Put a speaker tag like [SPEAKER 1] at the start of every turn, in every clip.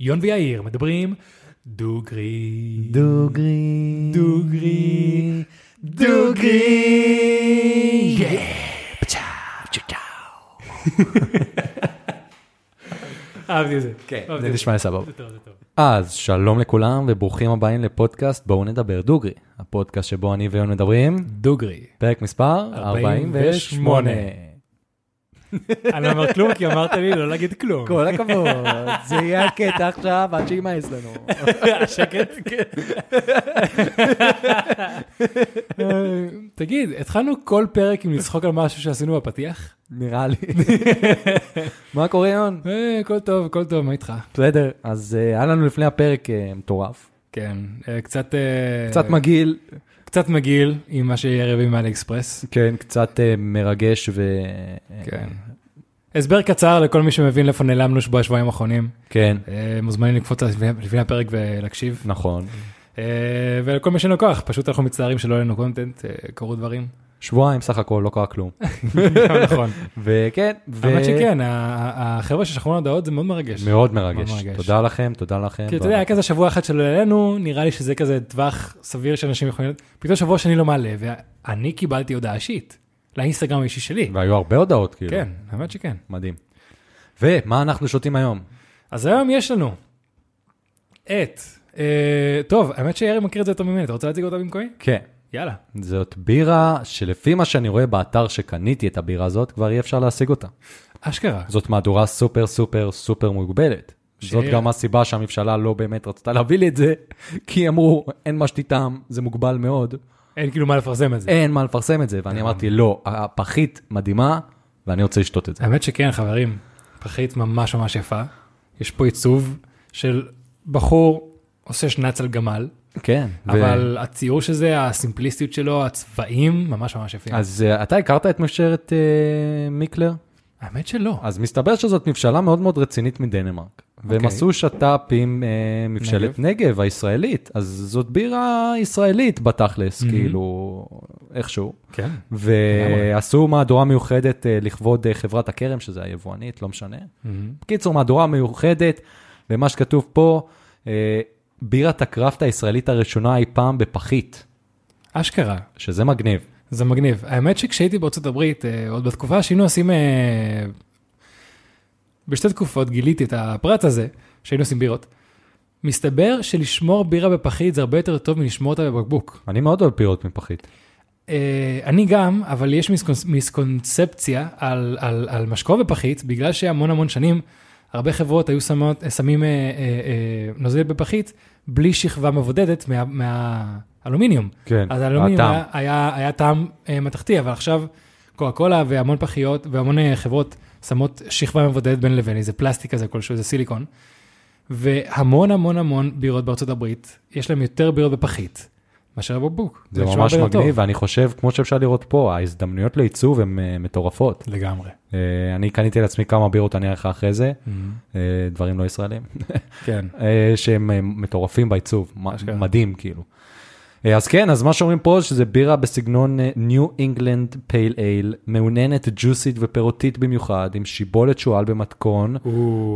[SPEAKER 1] יון ויאיר מדברים דוגרי.
[SPEAKER 2] דוגרי.
[SPEAKER 1] דוגרי.
[SPEAKER 2] דוגרי.
[SPEAKER 1] אהבתי את זה.
[SPEAKER 2] כן,
[SPEAKER 1] אהבתי
[SPEAKER 2] זה
[SPEAKER 1] את
[SPEAKER 2] נשמע לי סבבה.
[SPEAKER 1] זה טוב, זה טוב.
[SPEAKER 2] אז שלום לכולם וברוכים הבאים לפודקאסט בואו נדבר דוגרי, הפודקאסט שבו אני ויון מדברים,
[SPEAKER 1] דוגרי.
[SPEAKER 2] פרק מספר 48.
[SPEAKER 1] אני לא אומר כלום כי אמרת לי לא להגיד כלום.
[SPEAKER 2] כל הכבוד, זה יהיה הקטע עכשיו עד שימאס לנו.
[SPEAKER 1] השקט, כן. אה, תגיד, התחלנו כל פרק עם לצחוק על משהו שעשינו בפתיח?
[SPEAKER 2] נראה לי. מה קורה יון?
[SPEAKER 1] אה, הכל טוב, הכל טוב, מה איתך?
[SPEAKER 2] בסדר, אז אה, היה לנו לפני הפרק אה, מטורף,
[SPEAKER 1] כן, אה, קצת... אה,
[SPEAKER 2] קצת מגעיל,
[SPEAKER 1] קצת מגעיל עם מה שיהיה רבים מאלי אקספרס.
[SPEAKER 2] כן, קצת אה, מרגש ו...
[SPEAKER 1] כן. הסבר קצר לכל מי שמבין לאיפה נעלמנו בשבועיים האחרונים.
[SPEAKER 2] כן,
[SPEAKER 1] אה, מוזמנים לקפוץ לפני לפני הפרק ולהקשיב.
[SPEAKER 2] נכון.
[SPEAKER 1] אה, ולכל מי שאין לו כוח, פשוט אנחנו מצטערים שלא העלינו קונטנט, אה, קרו דברים.
[SPEAKER 2] שבועיים סך הכל, לא קרה כלום.
[SPEAKER 1] גם נכון.
[SPEAKER 2] וכן, ו...
[SPEAKER 1] האמת שכן, ה- ה- החבר'ה ששכחו לנו הודעות זה מאוד מרגש.
[SPEAKER 2] מאוד מרגש.
[SPEAKER 1] מאוד מרגש.
[SPEAKER 2] תודה לכם, תודה לכם.
[SPEAKER 1] כאילו, אתה יודע, היה כזה שבוע אחד שלא העלינו, נראה לי שזה כזה טווח סביר שאנשים יכולים... פתאום שבוע שני לא מעלה, ואני קיבלתי הודעה אישית, לאינסטגרם האישי שלי.
[SPEAKER 2] והיו הרבה הודעות, כאילו.
[SPEAKER 1] כן, האמת שכן.
[SPEAKER 2] מדהים. ומה אנחנו שותים היום?
[SPEAKER 1] אז היום יש לנו את... אה, טוב, האמת שירי מכיר את זה יותר ממני, אתה רוצה להציג אותה במקומי?
[SPEAKER 2] כן.
[SPEAKER 1] יאללה.
[SPEAKER 2] זאת בירה שלפי מה שאני רואה באתר שקניתי את הבירה הזאת, כבר אי אפשר להשיג אותה.
[SPEAKER 1] אשכרה.
[SPEAKER 2] זאת מהדורה סופר סופר סופר מוגבלת. זאת
[SPEAKER 1] שהיא-
[SPEAKER 2] גם הסיבה שהממשלה לא באמת רצתה להביא לי את זה, כי אמרו, אין מה שתטעם, זה מוגבל מאוד,
[SPEAKER 1] אין כאילו מה לפרסם את זה.
[SPEAKER 2] אין מה לפרסם את זה, ואני
[SPEAKER 1] נכון.
[SPEAKER 2] אמרתי, לא, הפחית מדהימה, ואני רוצה לשתות את זה.
[SPEAKER 1] האמת שכן, חברים, פחית ממש ממש יפה. יש פה עיצוב של בחור עושה שנץ על גמל,
[SPEAKER 2] כן. ו-
[SPEAKER 1] אבל הציור של זה, הסימפליסטיות שלו, הצבעים, ממש ממש יפים.
[SPEAKER 2] אז אה, אתה הכרת את מפשרת אה, מיקלר?
[SPEAKER 1] האמת שלא.
[SPEAKER 2] אז מסתבר שזאת מפשלה מאוד מאוד רצינית מדנמרק. והם
[SPEAKER 1] אוקיי.
[SPEAKER 2] עשו שת"פ עם אה, מפשלת נגב הישראלית, אז זאת בירה ישראלית בתכלס, כאילו, איכשהו.
[SPEAKER 1] כן.
[SPEAKER 2] ועשו מהדורה מיוחדת אה, לכבוד אה, חברת הכרם, שזה היבואנית, לא משנה. בקיצור, מהדורה מיוחדת, ומה שכתוב פה, אה, בירת הקראפט הישראלית הראשונה אי פעם בפחית,
[SPEAKER 1] אשכרה,
[SPEAKER 2] שזה מגניב.
[SPEAKER 1] זה מגניב. האמת שכשהייתי בארצות הברית, אה, עוד בתקופה שהיינו עושים, אה, בשתי תקופות גיליתי את הפרט הזה, שהיינו עושים בירות. מסתבר שלשמור בירה בפחית זה הרבה יותר טוב מלשמור אותה בבקבוק.
[SPEAKER 2] אני מאוד אוהב פירות מפחית.
[SPEAKER 1] אה, אני גם, אבל יש מיסקונס- מיסקונספציה על, על, על משקאות בפחית, בגלל שהמון המון שנים, הרבה חברות היו שמות, שמים אה, אה, אה, נוזל בפחית בלי שכבה מבודדת מה, מהאלומיניום.
[SPEAKER 2] כן,
[SPEAKER 1] אז לא האלומיניום
[SPEAKER 2] הטעם.
[SPEAKER 1] היה, היה, היה טעם אה, מתכתי, אבל עכשיו קוקה קולה והמון פחיות והמון אה, חברות שמות שכבה מבודדת בין לבין, איזה פלסטיק כזה כלשהו, זה סיליקון. והמון המון המון בירות בארצות הברית, יש להם יותר בירות בפחית מאשר בבקבוק.
[SPEAKER 2] זה
[SPEAKER 1] נשמע
[SPEAKER 2] ממש
[SPEAKER 1] הרבה יותר
[SPEAKER 2] מגניב,
[SPEAKER 1] טוב.
[SPEAKER 2] ואני חושב, כמו שאפשר לראות פה, ההזדמנויות לעיצוב הן אה, מטורפות.
[SPEAKER 1] לגמרי.
[SPEAKER 2] אה, אני קניתי לעצמי כמה בירות, אני אראה לך אחרי זה,
[SPEAKER 1] Mm-hmm.
[SPEAKER 2] אה, דברים לא ישראלים,
[SPEAKER 1] כן.
[SPEAKER 2] אה, שהם אה, מטורפים בעיצוב, מ-
[SPEAKER 1] אשכרה.
[SPEAKER 2] מדהים כאילו. אה, אז כן, אז מה שאומרים פה שזה בירה בסגנון אה, New England Pale Ale, מעוננת, ג'וסית ופירותית במיוחד, עם שיבולת שועל במתכון,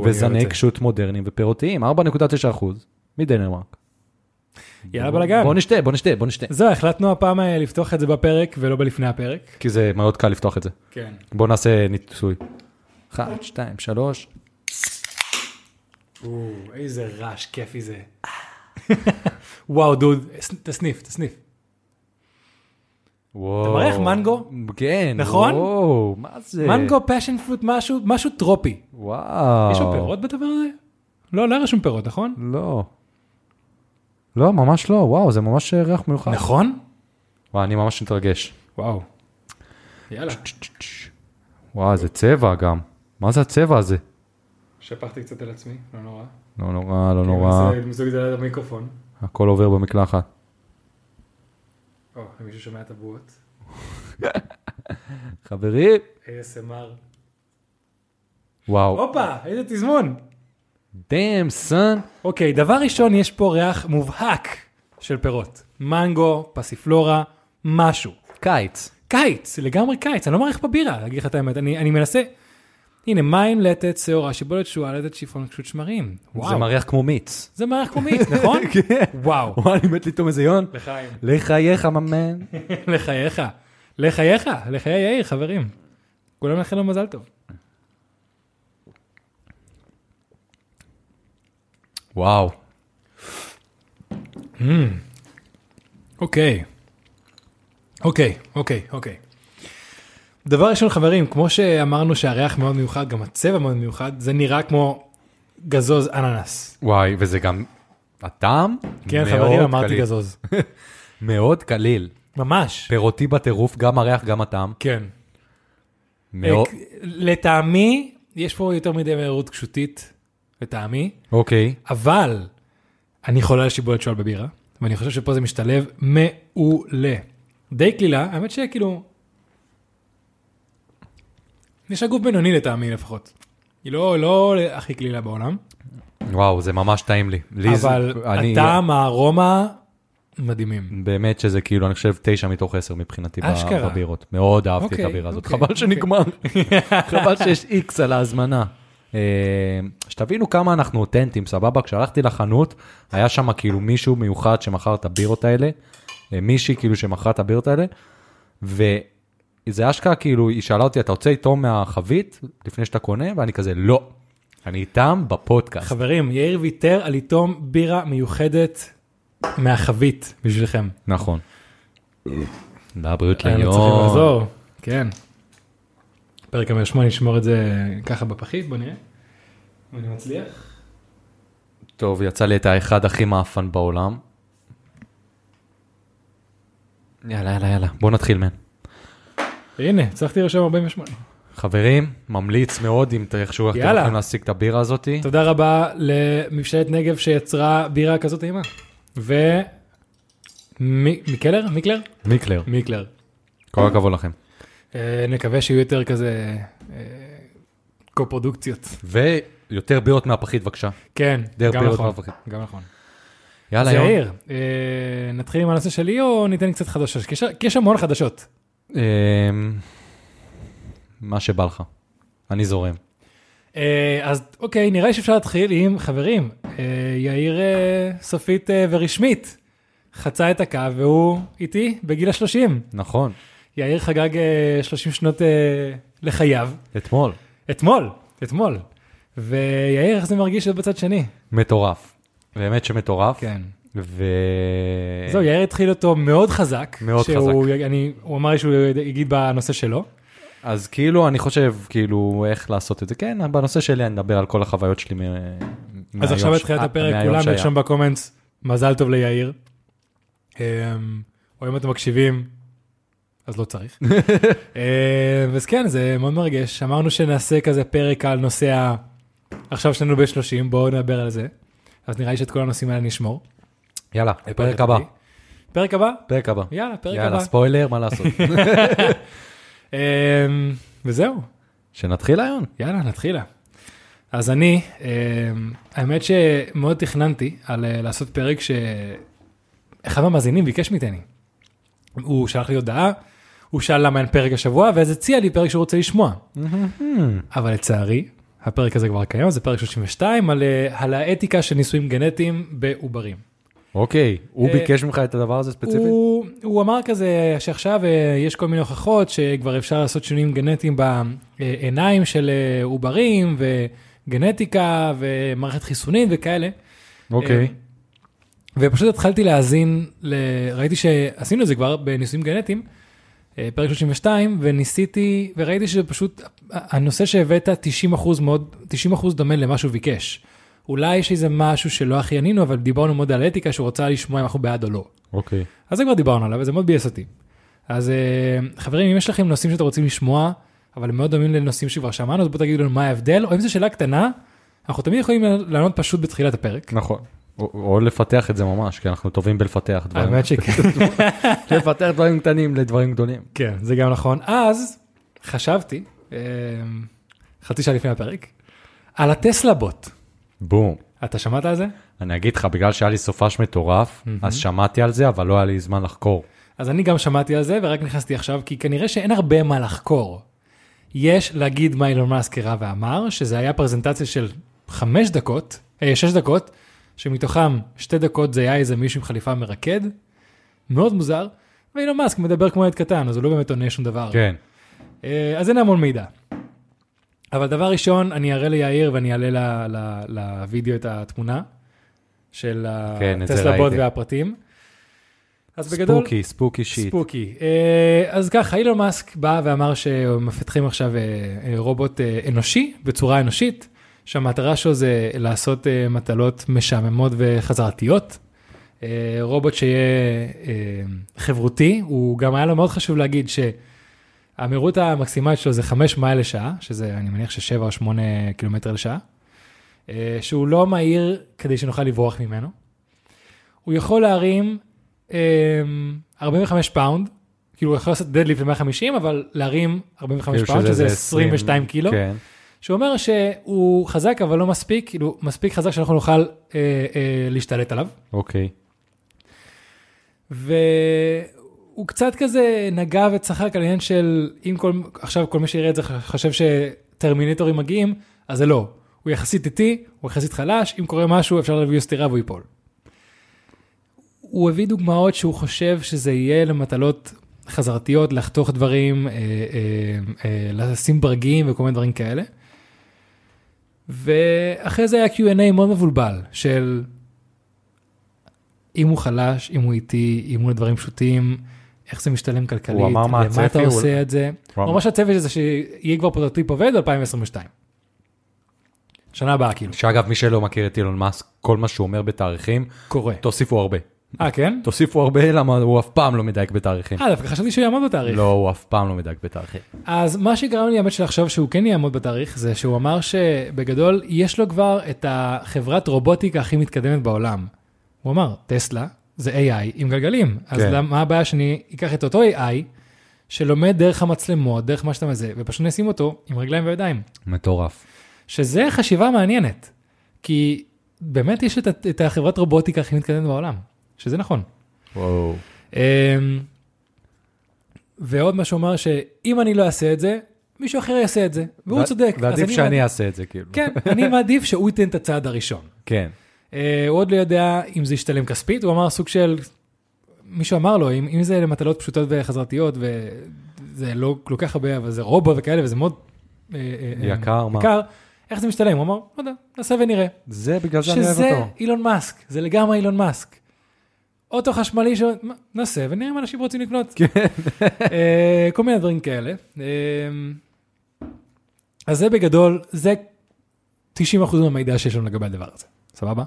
[SPEAKER 2] וזני קשות מודרניים ופירותיים, 4.9 אחוז, מדנמרק.
[SPEAKER 1] יאללה בלאגן.
[SPEAKER 2] בוא נשתה, בוא נשתה, בוא נשתה.
[SPEAKER 1] זהו, החלטנו הפעם אה, לפתוח את זה בפרק ולא בלפני הפרק.
[SPEAKER 2] כי זה מאוד קל לפתוח את זה.
[SPEAKER 1] כן.
[SPEAKER 2] בוא נעשה ניסוי.
[SPEAKER 1] אוקיי.
[SPEAKER 2] אחת, שתיים, שלוש.
[SPEAKER 1] איזה רעש כיפי זה. וואו, דוד, ס- תסניף, תסניף.
[SPEAKER 2] וואו.
[SPEAKER 1] מריח מנגו?
[SPEAKER 2] כן.
[SPEAKER 1] נכון?
[SPEAKER 2] וואו, מה זה?
[SPEAKER 1] מנגו, פשן פרוט, משהו, משהו טרופי.
[SPEAKER 2] וואו.
[SPEAKER 1] יש לו פירות בדבר הזה? לא, לא היה רשום פירות, נכון?
[SPEAKER 2] לא. לא, ממש לא, וואו, זה ממש אה, ריח מיוחד.
[SPEAKER 1] נכון?
[SPEAKER 2] וואו, אני ממש מתרגש.
[SPEAKER 1] וואו. יאללה,
[SPEAKER 2] וואו, זה צבע גם. מה זה הצבע הזה?
[SPEAKER 1] שפכתי קצת על עצמי, לא נורא.
[SPEAKER 2] לא נורא, לא נורא.
[SPEAKER 1] למזוג את כן, זה ליד המיקרופון.
[SPEAKER 2] הכל עובר במקלחת.
[SPEAKER 1] או, מישהו שומע את הבועות.
[SPEAKER 2] חברים.
[SPEAKER 1] ASMR.
[SPEAKER 2] וואו.
[SPEAKER 1] הופה, איזה תזמון.
[SPEAKER 2] דאם, סאן.
[SPEAKER 1] אוקיי, דבר ראשון, יש פה ריח מובהק של פירות. מנגו, פסיפלורה, משהו.
[SPEAKER 2] קיץ.
[SPEAKER 1] קיץ, לגמרי קיץ, אני לא מעריך פה בירה, להגיד לך את האמת. אני, אני מנסה, הנה, מים, לטט, שעורה, שיבולת, שועל, לטט, שיפון, פשוט שמרים.
[SPEAKER 2] זה
[SPEAKER 1] וואו.
[SPEAKER 2] מריח כמו מיץ.
[SPEAKER 1] זה מריח כמו מיץ, נכון?
[SPEAKER 2] כן.
[SPEAKER 1] וואו.
[SPEAKER 2] וואי, אני מת לטעום איזה יון.
[SPEAKER 1] לחיים.
[SPEAKER 2] לחייך, ממן.
[SPEAKER 1] לחייך. לחייך, לחיי יאיר, חברים. כולם נאחל לו מזל טוב.
[SPEAKER 2] וואו.
[SPEAKER 1] Hmm. אוקיי. אוקיי, אוקיי, אוקיי. דבר ראשון, חברים, כמו שאמרנו שהריח מאוד מיוחד, גם הצבע מאוד מיוחד, זה נראה כמו גזוז אננס.
[SPEAKER 2] וואי, וזה גם הטעם
[SPEAKER 1] כן,
[SPEAKER 2] מאוד
[SPEAKER 1] חברים, אמרתי
[SPEAKER 2] קליל.
[SPEAKER 1] גזוז.
[SPEAKER 2] מאוד קליל.
[SPEAKER 1] ממש.
[SPEAKER 2] פירותי בטירוף, גם הריח, גם הטעם.
[SPEAKER 1] כן.
[SPEAKER 2] מאוד-
[SPEAKER 1] אה, לטעמי, יש פה יותר מדי מהירות קשותית, לטעמי,
[SPEAKER 2] אוקיי.
[SPEAKER 1] אבל אני חולה על שיבולת שועל בבירה, ואני חושב שפה זה משתלב מעולה. די קלילה, האמת שכאילו... יש לה גוף בינוני לטעמי לפחות. היא לא, לא הכי קלילה בעולם,
[SPEAKER 2] וואו, זה ממש טעים לי. לי זה-
[SPEAKER 1] אבל
[SPEAKER 2] אני-
[SPEAKER 1] הטעם, הארומה, מדהימים.
[SPEAKER 2] באמת שזה כאילו, אני חושב, תשע מתוך עשר מבחינתי ב-
[SPEAKER 1] אשכרה.
[SPEAKER 2] בבירות. מאוד אהבתי את
[SPEAKER 1] אוקיי,
[SPEAKER 2] הבירה הזאת.
[SPEAKER 1] אוקיי,
[SPEAKER 2] חבל שנגמר. חבל שיש איקס על ההזמנה. אה, שתבינו כמה אנחנו אותנטיים, סבבה? כשהלכתי לחנות, היה שם כאילו מישהו מיוחד שמכר את הבירות האלה, אה, מישהי כאילו שמכרה את הבירות האלה, וזה אשכרה כאילו, היא שאלה אותי, אתה רוצה איתו מהחבית לפני שאתה קונה? ואני כזה, לא. אני איתם בפודקאסט.
[SPEAKER 1] חברים, יאיר ויתר על לטעום בירה מיוחדת מהחבית בשבילכם.
[SPEAKER 2] נכון. לבריאות
[SPEAKER 1] היינו צריכים
[SPEAKER 2] ליום.
[SPEAKER 1] לחזור, כן. פרק 108 נשמור את זה ככה בפחית, בוא נראה. אם אני מצליח.
[SPEAKER 2] טוב, יצא לי את האחד הכי מאפן בעולם. יאללה, יאללה, יאללה, בוא נתחיל מן.
[SPEAKER 1] הנה, הצלחתי לרשום 48.
[SPEAKER 2] חברים, ממליץ מאוד אם ת- איכשהו אתם
[SPEAKER 1] יאללה.
[SPEAKER 2] יכולים להשיג את הבירה הזאת.
[SPEAKER 1] תודה רבה לממשלת נגב שיצרה בירה כזאת טעימה. ו... מי- מיקלר? מיקלר?
[SPEAKER 2] מיקלר,
[SPEAKER 1] מיקלר.
[SPEAKER 2] כל הכבוד לכם.
[SPEAKER 1] אה, נקווה שיהיו יותר כזה אה, קופרודוקציות.
[SPEAKER 2] ויותר בירות מהפחית בבקשה.
[SPEAKER 1] כן,
[SPEAKER 2] דר
[SPEAKER 1] גם
[SPEAKER 2] בירות
[SPEAKER 1] נכון.
[SPEAKER 2] מהפחית.
[SPEAKER 1] גם נכון.
[SPEAKER 2] יאללה,
[SPEAKER 1] אז
[SPEAKER 2] יום.
[SPEAKER 1] יאיר, אה, נתחיל עם הנושא שלי או ניתן קצת חדשות? כי יש- כי יש המון חדשות.
[SPEAKER 2] אמ, מה שבא לך, אני זורם.
[SPEAKER 1] אה, אז אוקיי, נראה לי שאפשר להתחיל עם חברים. אה, יאיר אה, סופית אה, ורשמית חצה את הקו והוא איתי בגיל ה-30.
[SPEAKER 2] נכון,
[SPEAKER 1] יאיר חגג אה, 30 שנות אה, לחייו
[SPEAKER 2] אתמול.
[SPEAKER 1] אתמול, אתמול. ויאיר, איך זה מרגיש להיות בצד שני?
[SPEAKER 2] מטורף. באמת שמטורף.
[SPEAKER 1] כן.
[SPEAKER 2] ו...
[SPEAKER 1] זהו, יאיר התחיל אותו מאוד חזק.
[SPEAKER 2] מאוד
[SPEAKER 1] שהוא- אני- הוא אמר לי שהוא יגיד בנושא שלו.
[SPEAKER 2] אז כאילו, אני חושב, כאילו, איך לעשות את זה. כן, בנושא שלי אני אדבר על כל החוויות שלי מ... מהיום
[SPEAKER 1] אז עכשיו
[SPEAKER 2] ש-
[SPEAKER 1] בתחילת
[SPEAKER 2] אה,
[SPEAKER 1] הפרק
[SPEAKER 2] מהיום
[SPEAKER 1] כולם
[SPEAKER 2] שהיה.
[SPEAKER 1] נרשום בקומנטס, מזל טוב ליאיר. אמ, או אם אתם מקשיבים, אז לא צריך. אמ, אז כן, זה מאוד מרגש. אמרנו שנעשה כזה פרק על נושא ה... עכשיו שנינו ב-30, בואו נדבר על זה. אז נראה לי שאת כל הנושאים האלה נשמור.
[SPEAKER 2] יאללה, פרק הבא.
[SPEAKER 1] פרק הבא?
[SPEAKER 2] פרק הבא.
[SPEAKER 1] יאללה, פרק
[SPEAKER 2] יאללה,
[SPEAKER 1] הבא.
[SPEAKER 2] ספוילר, מה לעשות?
[SPEAKER 1] אמ, וזהו,
[SPEAKER 2] שנתחיל היום.
[SPEAKER 1] יאללה, נתחילה. אז אני, אמ, האמת שמאוד תכננתי על אה, לעשות פרק שאחד המאזינים ביקש ממני. הוא שלח לי הודעה, הוא שאל למה אין פרק השבוע, ואז הציע לי פרק שהוא רוצה לשמוע. אבל לצערי, הפרק הזה כבר קיים, זה פרק 32 על, אה, על האתיקה של ניסויים גנטיים בעוברים.
[SPEAKER 2] אוקיי, הוא
[SPEAKER 1] אה,
[SPEAKER 2] ביקש ממך את הדבר הזה ספציפית?
[SPEAKER 1] הוא, הוא אמר כזה שעכשיו אה, יש כל מיני הוכחות שכבר אפשר לעשות שינויים גנטיים בעיניים של אה, עוברים וגנטיקה ומערכת חיסונית וכאלה. אה,
[SPEAKER 2] אוקיי.
[SPEAKER 1] ופשוט התחלתי להאזין, ל... ראיתי שעשינו את זה כבר בניסויים גנטיים, אה, פרק 32, וניסיתי, וראיתי שזה פשוט, הנושא שהבאת 90 אחוז מאוד, 90 אחוז דומה למה שהוא ביקש. אולי יש איזה משהו שלא הכי ענינו, אבל דיברנו מאוד על אתיקה שהוא רצה לשמוע אם אנחנו בעד או לא.
[SPEAKER 2] אוקיי.
[SPEAKER 1] אז זה כבר דיברנו עליו, וזה מאוד ביאס אותי. אז אה, חברים, אם יש לכם נושאים שאתם רוצים לשמוע, אבל הם מאוד דומים לנושאים שכבר שמענו, אז בואו תגידו לנו מה ההבדל, או אם זו שאלה קטנה, אנחנו תמיד יכולים לענות פשוט בתחילת הפרק.
[SPEAKER 2] נכון. או- או לפתח את זה ממש, כי אנחנו טובים בלפתח דברים.
[SPEAKER 1] האמת שכן.
[SPEAKER 2] לפתח דברים קטנים לדברים גדולים.
[SPEAKER 1] כן, זה גם נכון. אז חשבתי, אה, חצי שעה לפני הפרק, על הטסלה בוט.
[SPEAKER 2] בום.
[SPEAKER 1] אתה שמעת על זה?
[SPEAKER 2] אני אגיד לך, בגלל שהיה לי סופש מטורף,
[SPEAKER 1] Mhm.
[SPEAKER 2] אז שמעתי על זה, אבל לא היה לי זמן לחקור.
[SPEAKER 1] אז אני גם שמעתי על זה ורק נכנסתי עכשיו, כי כנראה שאין הרבה מה לחקור. יש להגיד מה אילון מאסק הראה ואמר, שזה היה פרזנטציה של חמש דקות, אה, שש דקות, שמתוכם שתי דקות זה היה איזה מישהו עם חליפה מרקד, מאוד מוזר, ואילון מאסק מדבר כמו ילד קטן, אז הוא לא באמת עונה שום דבר.
[SPEAKER 2] כן.
[SPEAKER 1] אה, אז אין המון מידע. אבל דבר ראשון, אני אראה ליאיר ואני אעלה ל- ל- לוידאו את התמונה של
[SPEAKER 2] כן, את זה
[SPEAKER 1] הטסלה בוט
[SPEAKER 2] ראיתי.
[SPEAKER 1] והפרטים. אז בגדול,
[SPEAKER 2] ספוקי, ספוקי שיט.
[SPEAKER 1] ספוקי. אה, אז ככה, אילון מאסק בא ואמר שמפתחים עכשיו אה, אה, רובוט אה, אנושי, בצורה אנושית, שהמטרה שלו זה לעשות אה, מטלות משעממות וחזרתיות. אה, רובוט שיהיה אה, חברותי, הוא גם היה לו מאוד חשוב להגיד שהמהירות המקסימלית שלו זה 5 מייל לשעה, שזה אני מניח ש-7 או 8 קילומטר לשעה, אה, שהוא לא מהיר כדי שנוכל לברוח ממנו. הוא יכול להרים אמ, 45 פאונד, כאילו הוא יכול לעשות דדליפט ל-150, אבל להרים 45
[SPEAKER 2] כאילו
[SPEAKER 1] פאונד, שזה
[SPEAKER 2] איזה
[SPEAKER 1] 22
[SPEAKER 2] עשרים,
[SPEAKER 1] קילו,
[SPEAKER 2] כן.
[SPEAKER 1] שהוא אומר שהוא חזק אבל לא מספיק, כאילו מספיק חזק שאנחנו נוכל אה, אה, להשתלט עליו.
[SPEAKER 2] אוקיי.
[SPEAKER 1] והוא קצת כזה נגע וצחק על עניין של אם כל, עכשיו כל מי שיראה את זה חושב שטרמינטורים מגיעים, אז זה לא. הוא יחסית איטי, הוא יחסית חלש, אם קורה משהו אפשר להביא לו סטירה והוא ייפול. הוא הביא דוגמאות שהוא חושב שזה יהיה למטלות חזרתיות, לחתוך דברים, אה, אה, אה, לשים ברגים וכל מיני דברים כאלה. ואחרי זה היה Q&A מאוד מבולבל של אם הוא חלש, אם הוא איטי, אם הוא לדברים פשוטים, איך זה משתלם כלכלית,
[SPEAKER 2] הוא אמר מה
[SPEAKER 1] למה אתה
[SPEAKER 2] הצפי, הוא-
[SPEAKER 1] עושה את זה.
[SPEAKER 2] הוא אמר-
[SPEAKER 1] ממש הצפי זה שיהיה כבר פרוטוטיפ עובד ב-2022. שנה הבאה כאילו,
[SPEAKER 2] שאגב, מי שלא מכיר את אילון מאסק, כל מה שהוא אומר בתאריכים,
[SPEAKER 1] קורה.
[SPEAKER 2] תוסיפו הרבה.
[SPEAKER 1] אה, כן?
[SPEAKER 2] תוסיפו הרבה, למה הוא אף פעם לא מדייק בתאריכים.
[SPEAKER 1] אה, דווקא חשבתי שהוא יעמוד בתאריך.
[SPEAKER 2] לא, הוא אף פעם לא מדייק בתאריכים.
[SPEAKER 1] אז מה שגרם לי האמת שלחשוב שהוא כן יעמוד בתאריך, זה שהוא אמר שבגדול יש לו כבר את החברת רובוטיקה הכי מתקדמת בעולם. הוא אמר, טסלה זה AI עם גלגלים, אז
[SPEAKER 2] כן.
[SPEAKER 1] למה- מה הבעיה שאני אקח את אותו AI, שלומד דרך המצלמות, דרך מה שאתה מזה, ופשוט נשים אותו עם רגליים וידיים.
[SPEAKER 2] מטורף.
[SPEAKER 1] שזה חשיבה מעניינת, כי באמת יש את, ה- את החברת רובוטיקה הכי מתקדמת בעולם, שזה נכון.
[SPEAKER 2] וואו.
[SPEAKER 1] אמ, ועוד מה שהוא אמר, שאם אני לא אעשה את זה, מישהו אחר יעשה את זה, והוא
[SPEAKER 2] ו-
[SPEAKER 1] צודק. אז
[SPEAKER 2] ועדיף
[SPEAKER 1] אני
[SPEAKER 2] שאני
[SPEAKER 1] מעדיף-
[SPEAKER 2] אעשה את זה, כאילו.
[SPEAKER 1] כן, אני מעדיף שהוא ייתן את הצעד הראשון.
[SPEAKER 2] כן.
[SPEAKER 1] אה, הוא עוד לא יודע אם זה ישתלם כספית, הוא אמר סוג של, מישהו אמר לו, אם, אם זה למטלות פשוטות וחזרתיות, וזה לא כל כך הרבה, אבל זה רובוט וכאלה, וזה מאוד... אה, אה, אה,
[SPEAKER 2] יקר, מה?
[SPEAKER 1] יקר, איך זה משתלם? הוא אמר, לא יודע, נעשה ונראה.
[SPEAKER 2] זה בגלל שאני אוהב
[SPEAKER 1] שזה
[SPEAKER 2] אותו.
[SPEAKER 1] אילון מאסק, זה לגמרי אילון מאסק. אוטו חשמלי שנעשה ונראה אם אנשים רוצים לקנות. כן. כל מיני דברים כאלה. אה, אז זה בגדול, זה 90% מהמידע שיש לנו לגבי הדבר הזה, סבבה?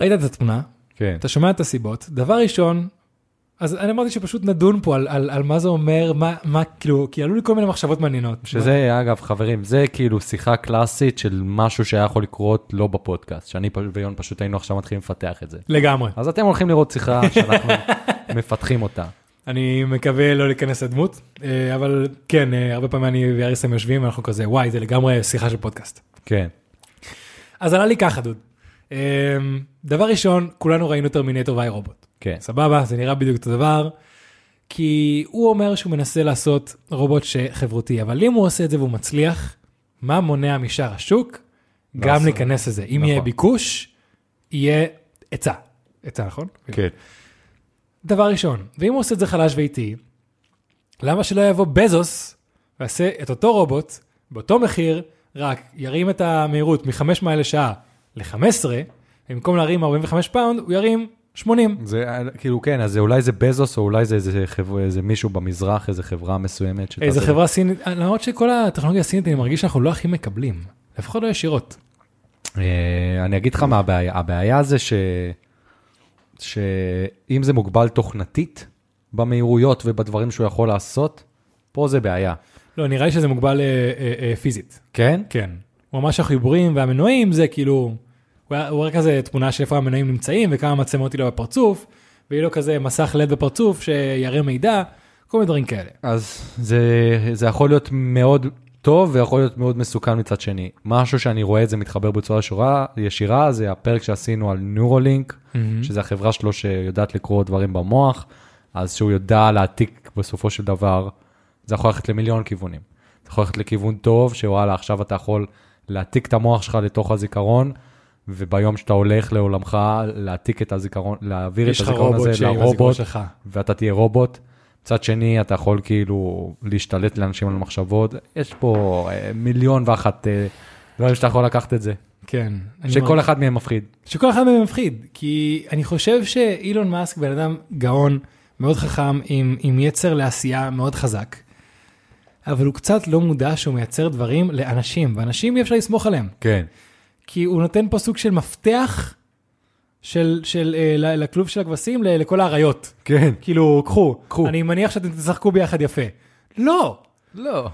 [SPEAKER 1] ראית את התמונה,
[SPEAKER 2] כן.
[SPEAKER 1] אתה שומע את הסיבות. דבר ראשון, אז אני אמרתי שפשוט נדון פה על, על, על מה זה אומר, מה, מה כאילו, כי עלו לי כל מיני מחשבות מעניינות.
[SPEAKER 2] שזה, אגב, חברים, זה כאילו שיחה קלאסית של משהו שהיה יכול לקרות לא בפודקאסט, שאני פ- ויון פשוט היינו עכשיו מתחילים לפתח את זה.
[SPEAKER 1] לגמרי.
[SPEAKER 2] אז אתם הולכים לראות שיחה שאנחנו מפתחים אותה.
[SPEAKER 1] אני מקווה לא להיכנס לדמות, אה, אבל כן, אה, הרבה פעמים אני ואריסם יושבים ואנחנו כזה, וואי, זה לגמרי שיחה של פודקאסט.
[SPEAKER 2] כן.
[SPEAKER 1] אז עלה לי ככה, דוד. אה, דבר ראשון, כולנו ראינו טרמינטור ואי רובוט.
[SPEAKER 2] כן.
[SPEAKER 1] סבבה, זה נראה בדיוק אותו דבר. כי הוא אומר שהוא מנסה לעשות רובוט שחברותי, אבל אם הוא עושה את זה והוא מצליח, מה מונע משאר השוק? גם
[SPEAKER 2] לעשות.
[SPEAKER 1] להיכנס לזה. אם
[SPEAKER 2] נכון.
[SPEAKER 1] יהיה ביקוש, יהיה היצע. היצע, נכון?
[SPEAKER 2] כן.
[SPEAKER 1] דבר ראשון, ואם הוא עושה את זה חלש ואיטי, למה שלא יבוא בזוס ויעשה את אותו רובוט, באותו מחיר, רק ירים את המהירות מ-5 מייל לשעה ל-15, במקום להרים 45 פאונד, הוא ירים 80.
[SPEAKER 2] זה אה, כאילו כן, אז זה אולי זה בזוס, או אולי זה איזה, חבר, איזה מישהו במזרח, איזה חברה מסוימת. שתעשה
[SPEAKER 1] איזה
[SPEAKER 2] את זה.
[SPEAKER 1] חברה סינית, למרות שכל הטכנולוגיה הסינית, אני מרגיש שאנחנו לא הכי מקבלים, לפחות לא ישירות.
[SPEAKER 2] אה, אני אגיד לך מה הבעיה, הבעיה זה ש... שאם זה מוגבל תוכנתית במהירויות ובדברים שהוא יכול לעשות, פה זה בעיה.
[SPEAKER 1] לא, נראה לי שזה מוגבל אה, אה, אה, פיזית.
[SPEAKER 2] כן?
[SPEAKER 1] כן. ממש החיבורים והמנועים זה כאילו, הוא היה- הוא היה כזה תמונה של איפה המנועים נמצאים וכמה מצלמות היא לו בפרצוף, ויהיה לו כזה מסך לד בפרצוף שיראה מידע, כל מיני דברים כאלה.
[SPEAKER 2] אז זה, זה יכול להיות מאוד טוב ויכול להיות מאוד מסוכן מצד שני. משהו שאני רואה את זה מתחבר בצורה ישורה, ישירה, זה הפרק שעשינו על נורולינק, mm-hmm. שזה החברה שלו שיודעת לקרוא דברים במוח, אז שהוא יודע להעתיק בסופו של דבר, זה יכול ללכת למיליון כיוונים. זה יכול ללכת לכיוון טוב, שוואלה, עכשיו אתה יכול להעתיק את המוח שלך לתוך הזיכרון, וביום שאתה הולך לעולמך, להעתיק את הזיכרון, להעביר את
[SPEAKER 1] יש לך
[SPEAKER 2] הזיכרון
[SPEAKER 1] רובוט
[SPEAKER 2] הזה
[SPEAKER 1] שעם הזיכרון
[SPEAKER 2] לרובוט,
[SPEAKER 1] שלך.
[SPEAKER 2] ואתה תהיה רובוט. מצד שני, אתה יכול כאילו להשתלט לאנשים על מחשבות. יש פה אה, מיליון ואחת אה, דברים שאתה יכול לקחת את זה,
[SPEAKER 1] כן. אני
[SPEAKER 2] שכל
[SPEAKER 1] מאוד-
[SPEAKER 2] אחד מהם מפחיד.
[SPEAKER 1] שכל אחד מהם מפחיד, כי אני חושב שאילון מאסק בן אדם גאון, מאוד חכם, עם, עם יצר לעשייה מאוד חזק, אבל הוא קצת לא מודע שהוא מייצר דברים לאנשים, ואנשים אי אפשר לסמוך עליהם,
[SPEAKER 2] כן.
[SPEAKER 1] כי הוא נותן פה סוג של מפתח של, של, אה, ל- לכלוב של הכבשים ל- לכל האריות.
[SPEAKER 2] כן.
[SPEAKER 1] כאילו, קחו,
[SPEAKER 2] קחו.
[SPEAKER 1] אני מניח שאתם תשחקו ביחד יפה. לא,
[SPEAKER 2] לא.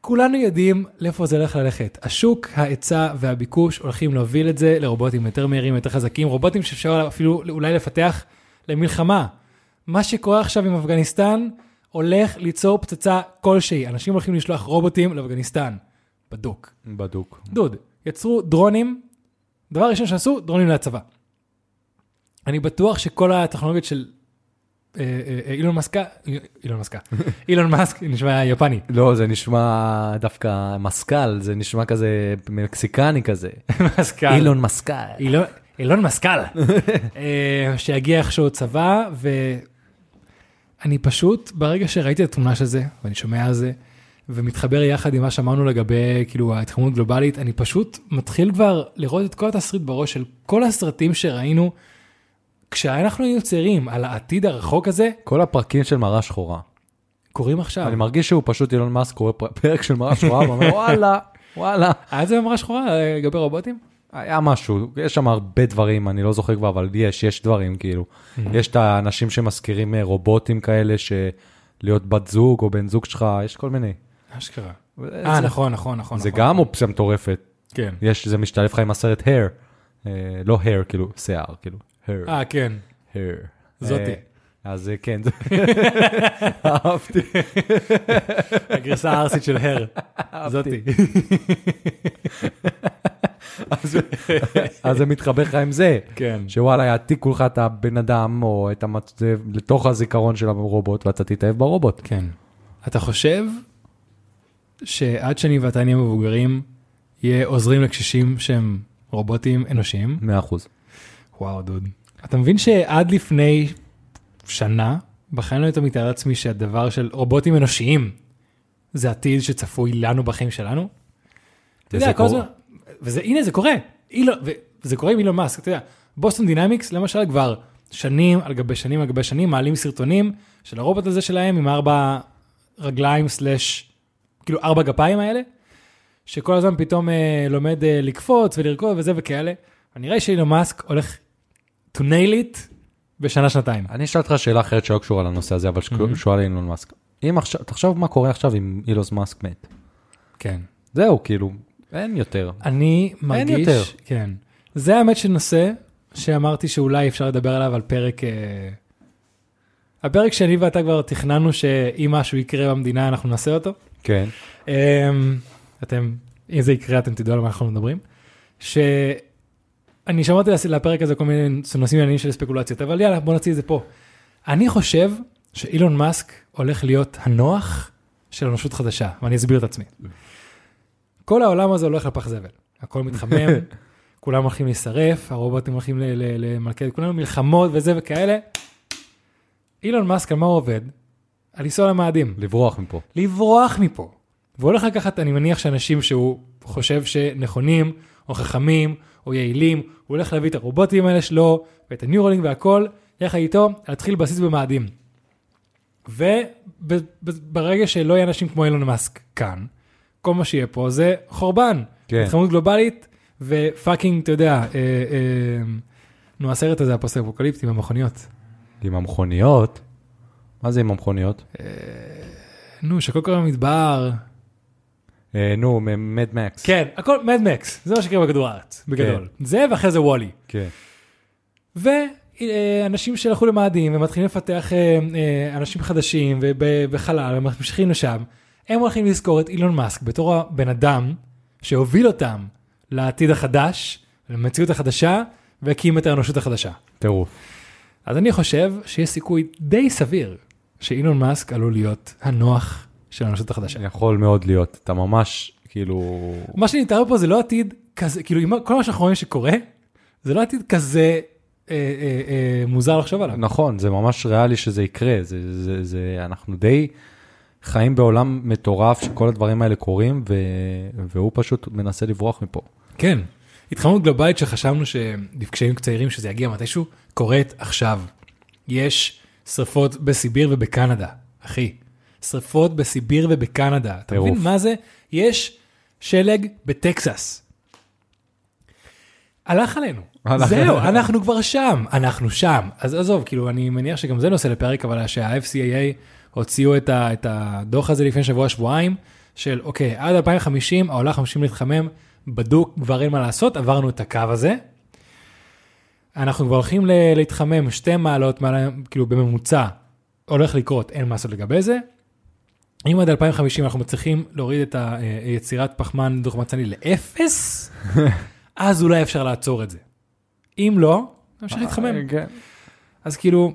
[SPEAKER 1] כולנו יודעים לאיפה זה הולך ללכת. השוק, ההיצע והביקוש הולכים להוביל את זה לרובוטים יותר מהירים, יותר חזקים, רובוטים שאפשר אפילו אולי לפתח למלחמה. מה שקורה עכשיו עם אפגניסטן הולך ליצור פצצה כלשהי. אנשים הולכים לשלוח רובוטים לאפגניסטן. בדוק.
[SPEAKER 2] בדוק.
[SPEAKER 1] דוד, יצרו דרונים, דבר ראשון שעשו, דרונים לצבא. אני בטוח שכל הטכנולוגיות של אה, אה, אה, אילון מאסקה, אילון מאסקה, אילון מאסק, נשמע יפני.
[SPEAKER 2] לא, זה נשמע דווקא מסקל, זה נשמע כזה מקסיקני כזה.
[SPEAKER 1] מאסקה.
[SPEAKER 2] אילון מסקל.
[SPEAKER 1] אילון- אילון מסקל, אה, שיגיע איכשהו צבא, ואני פשוט, ברגע שראיתי את התמונה של זה, ואני שומע על זה, ומתחבר יחד עם מה שאמרנו לגבי, כאילו, ההתחממות גלובלית, אני פשוט מתחיל כבר לראות את כל התסריט בראש של כל הסרטים שראינו, כשאנחנו היינו צעירים, על העתיד הרחוק הזה,
[SPEAKER 2] כל הפרקים של מראה שחורה.
[SPEAKER 1] קורים עכשיו.
[SPEAKER 2] אני מרגיש שהוא פשוט אילון מאסק קורא פר- פרק של מראה שחורה ואומר וואלה, וואלה.
[SPEAKER 1] היה זה ממש שחורה אה, לגבי רובוטים?
[SPEAKER 2] היה משהו, יש שם הרבה דברים, אני לא זוכר כבר, אבל יש, יש דברים כאילו. יש את האנשים שמזכירים אה, רובוטים כאלה, שלהיות בת זוג או בן זוג שלך, יש כל מיני.
[SPEAKER 1] אשכרה. אה,
[SPEAKER 2] זה-
[SPEAKER 1] נכון, נכון, נכון.
[SPEAKER 2] זה
[SPEAKER 1] נכון.
[SPEAKER 2] גם אופציה מטורפת.
[SPEAKER 1] כן.
[SPEAKER 2] יש, זה משתלב לך עם הסרט hair. אה, לא hair, כאילו, שיער, כאילו, hair.
[SPEAKER 1] אה, כן.
[SPEAKER 2] hair.
[SPEAKER 1] זאתי.
[SPEAKER 2] אה, אז אה, כן, זה- אהבתי,
[SPEAKER 1] הגרסה הערסית של הר.
[SPEAKER 2] אהבתי. אז- אז זה מתחבר לך עם זה,
[SPEAKER 1] כן.
[SPEAKER 2] שוואלה יעתיקו לך את הבן אדם או את המצב לתוך הזיכרון של הרובוט ואתה תתאהב ברובוט.
[SPEAKER 1] כן. אתה חושב שעד שאני ואתה נהיה מבוגרים, יהיה עוזרים לקשישים שהם רובוטים אנושיים?
[SPEAKER 2] 100 אחוז.
[SPEAKER 1] וואו, דוד. אתה מבין שעד לפני שנה, בחיים לא הייתי מתאר לעצמי שהדבר של רובוטים אנושיים זה עתיד שצפוי לנו בחיים שלנו? אתה יודע,
[SPEAKER 2] וזה
[SPEAKER 1] כל הזמן,
[SPEAKER 2] קורה.
[SPEAKER 1] וזה, הנה זה קורה, אילון, וזה קורה עם אילון מאסק, אתה יודע, בוסטון דינמיקס למשל כבר שנים על גבי שנים על גבי שנים מעלים סרטונים של הרובוט הזה שלהם עם ארבע רגליים סלאש, כאילו ארבע גפיים האלה, שכל הזמן פתאום אה, לומד אה, לקפוץ ולרקוד וזה וכאלה, ונראה שאילון מאסק הולך to nail it בשנה שנתיים.
[SPEAKER 2] אני אשאל אותך שאלה אחרת שלא קשורה לנושא הזה, אבל שקשורה לאילון מאסק. אם עכשיו, תחשוב מה קורה עכשיו אם אילון מאסק מת.
[SPEAKER 1] כן.
[SPEAKER 2] זהו, כאילו, אין יותר.
[SPEAKER 1] אני מרגיש...
[SPEAKER 2] יותר.
[SPEAKER 1] כן. זה האמת של נושא שאמרתי שאולי אפשר לדבר עליו על פרק... אה, הפרק שאני ואתה כבר תכננו שאם משהו יקרה במדינה אנחנו נעשה אותו.
[SPEAKER 2] כן.
[SPEAKER 1] אה, אתם, אם זה יקרה אתם תדעו על מה אנחנו מדברים. שאני שמעתי לס- לפרק הזה כל מיני נושאים עניינים של ספקולציות, אבל יאללה בוא נוציא את זה פה. אני חושב שאילון מאסק הולך להיות הנוח של אנושות חדשה, ואני אסביר את עצמי. כל העולם הזה הולך לפח זבל, הכל מתחמם, כולם הולכים להישרף, הרובוטים הולכים ל- ל- למלכד, כולנו מלחמות וזה וכאלה. אילון מאסק, על מה הוא עובד? על לנסוע למאדים.
[SPEAKER 2] לברוח מפה.
[SPEAKER 1] לברוח מפה. והוא הולך לקחת, אני מניח שאנשים שהוא חושב שנכונים, או חכמים, או יעילים, הוא הולך להביא את הרובוטים האלה שלו, ואת הניורלינג והכל, יחד איתו, להתחיל בסיס במאדים. וברגע שלא יהיה אנשים כמו אילון מאסק כאן, כל מה שיהיה פה זה חורבן.
[SPEAKER 2] כן.
[SPEAKER 1] התחממות גלובלית, ופאקינג, אתה יודע, אה, אה, נו, הסרט הזה, הפוסט-אפוקליפטי, במכוניות.
[SPEAKER 2] עם המכוניות. מה זה עם המכוניות?
[SPEAKER 1] נו, שכל קורה במדבר.
[SPEAKER 2] אה, נו, מדמקס.
[SPEAKER 1] כן, הכל מדמקס, זה מה שקרה בכדור הארץ, בגדול. זה ואחרי זה וואלי.
[SPEAKER 2] כן.
[SPEAKER 1] ואנשים שהלכו למאדים ומתחילים לפתח אה, אה, אנשים חדשים וב- בחלל וממשיכים לשם, הם הולכים לזכור את אילון מאסק בתור הבן אדם שהוביל אותם לעתיד החדש, למציאות החדשה, והקים את האנושות החדשה.
[SPEAKER 2] טירוף.
[SPEAKER 1] אז אני חושב שיש סיכוי די סביר שאילון מאסק עלול להיות הנוח של האנושות החדשה.
[SPEAKER 2] יכול מאוד להיות, אתה ממש, כאילו...
[SPEAKER 1] מה שנתאר פה זה לא עתיד כזה, כאילו, עם כל מה שאנחנו רואים שקורה, זה לא עתיד כזה אה, אה, אה, מוזר לחשוב עליו.
[SPEAKER 2] נכון, זה ממש ריאלי שזה יקרה, זה, זה, זה, אנחנו די חיים בעולם מטורף שכל הדברים האלה קורים, ו, והוא פשוט מנסה לברוח מפה.
[SPEAKER 1] כן. התחממות גלובלית שחשבנו שכשהיינו צעירים שזה יגיע מתישהו, קורית עכשיו. יש שריפות בסיביר ובקנדה, אחי. שריפות בסיביר ובקנדה. אתה
[SPEAKER 2] טירוף.
[SPEAKER 1] מבין מה זה? יש שלג בטקסס. הלך עלינו.
[SPEAKER 2] הלך
[SPEAKER 1] זהו,
[SPEAKER 2] עלינו.
[SPEAKER 1] אנחנו כבר שם, אנחנו שם. אז עזוב, כאילו, אני מניח שגם זה נושא לפרק, אבל שה-FCAA הוציאו את, ה, את הדוח הזה לפני שבוע-שבועיים, של אוקיי, עד 2050 העולם חמשים להתחמם, בדוק, כבר אין מה לעשות, עברנו את הקו הזה. אנחנו כבר הולכים ל- להתחמם שתי מעלות, מעלה, כאילו בממוצע, הולך לקרות, אין מה לעשות לגבי זה. אם עד 2050 אנחנו מצליחים להוריד את היצירת פחמן דו-חמצני לאפס, אז אולי אפשר לעצור את זה. אם לא, נמשיך להתחמם.
[SPEAKER 2] כן.
[SPEAKER 1] אז כאילו,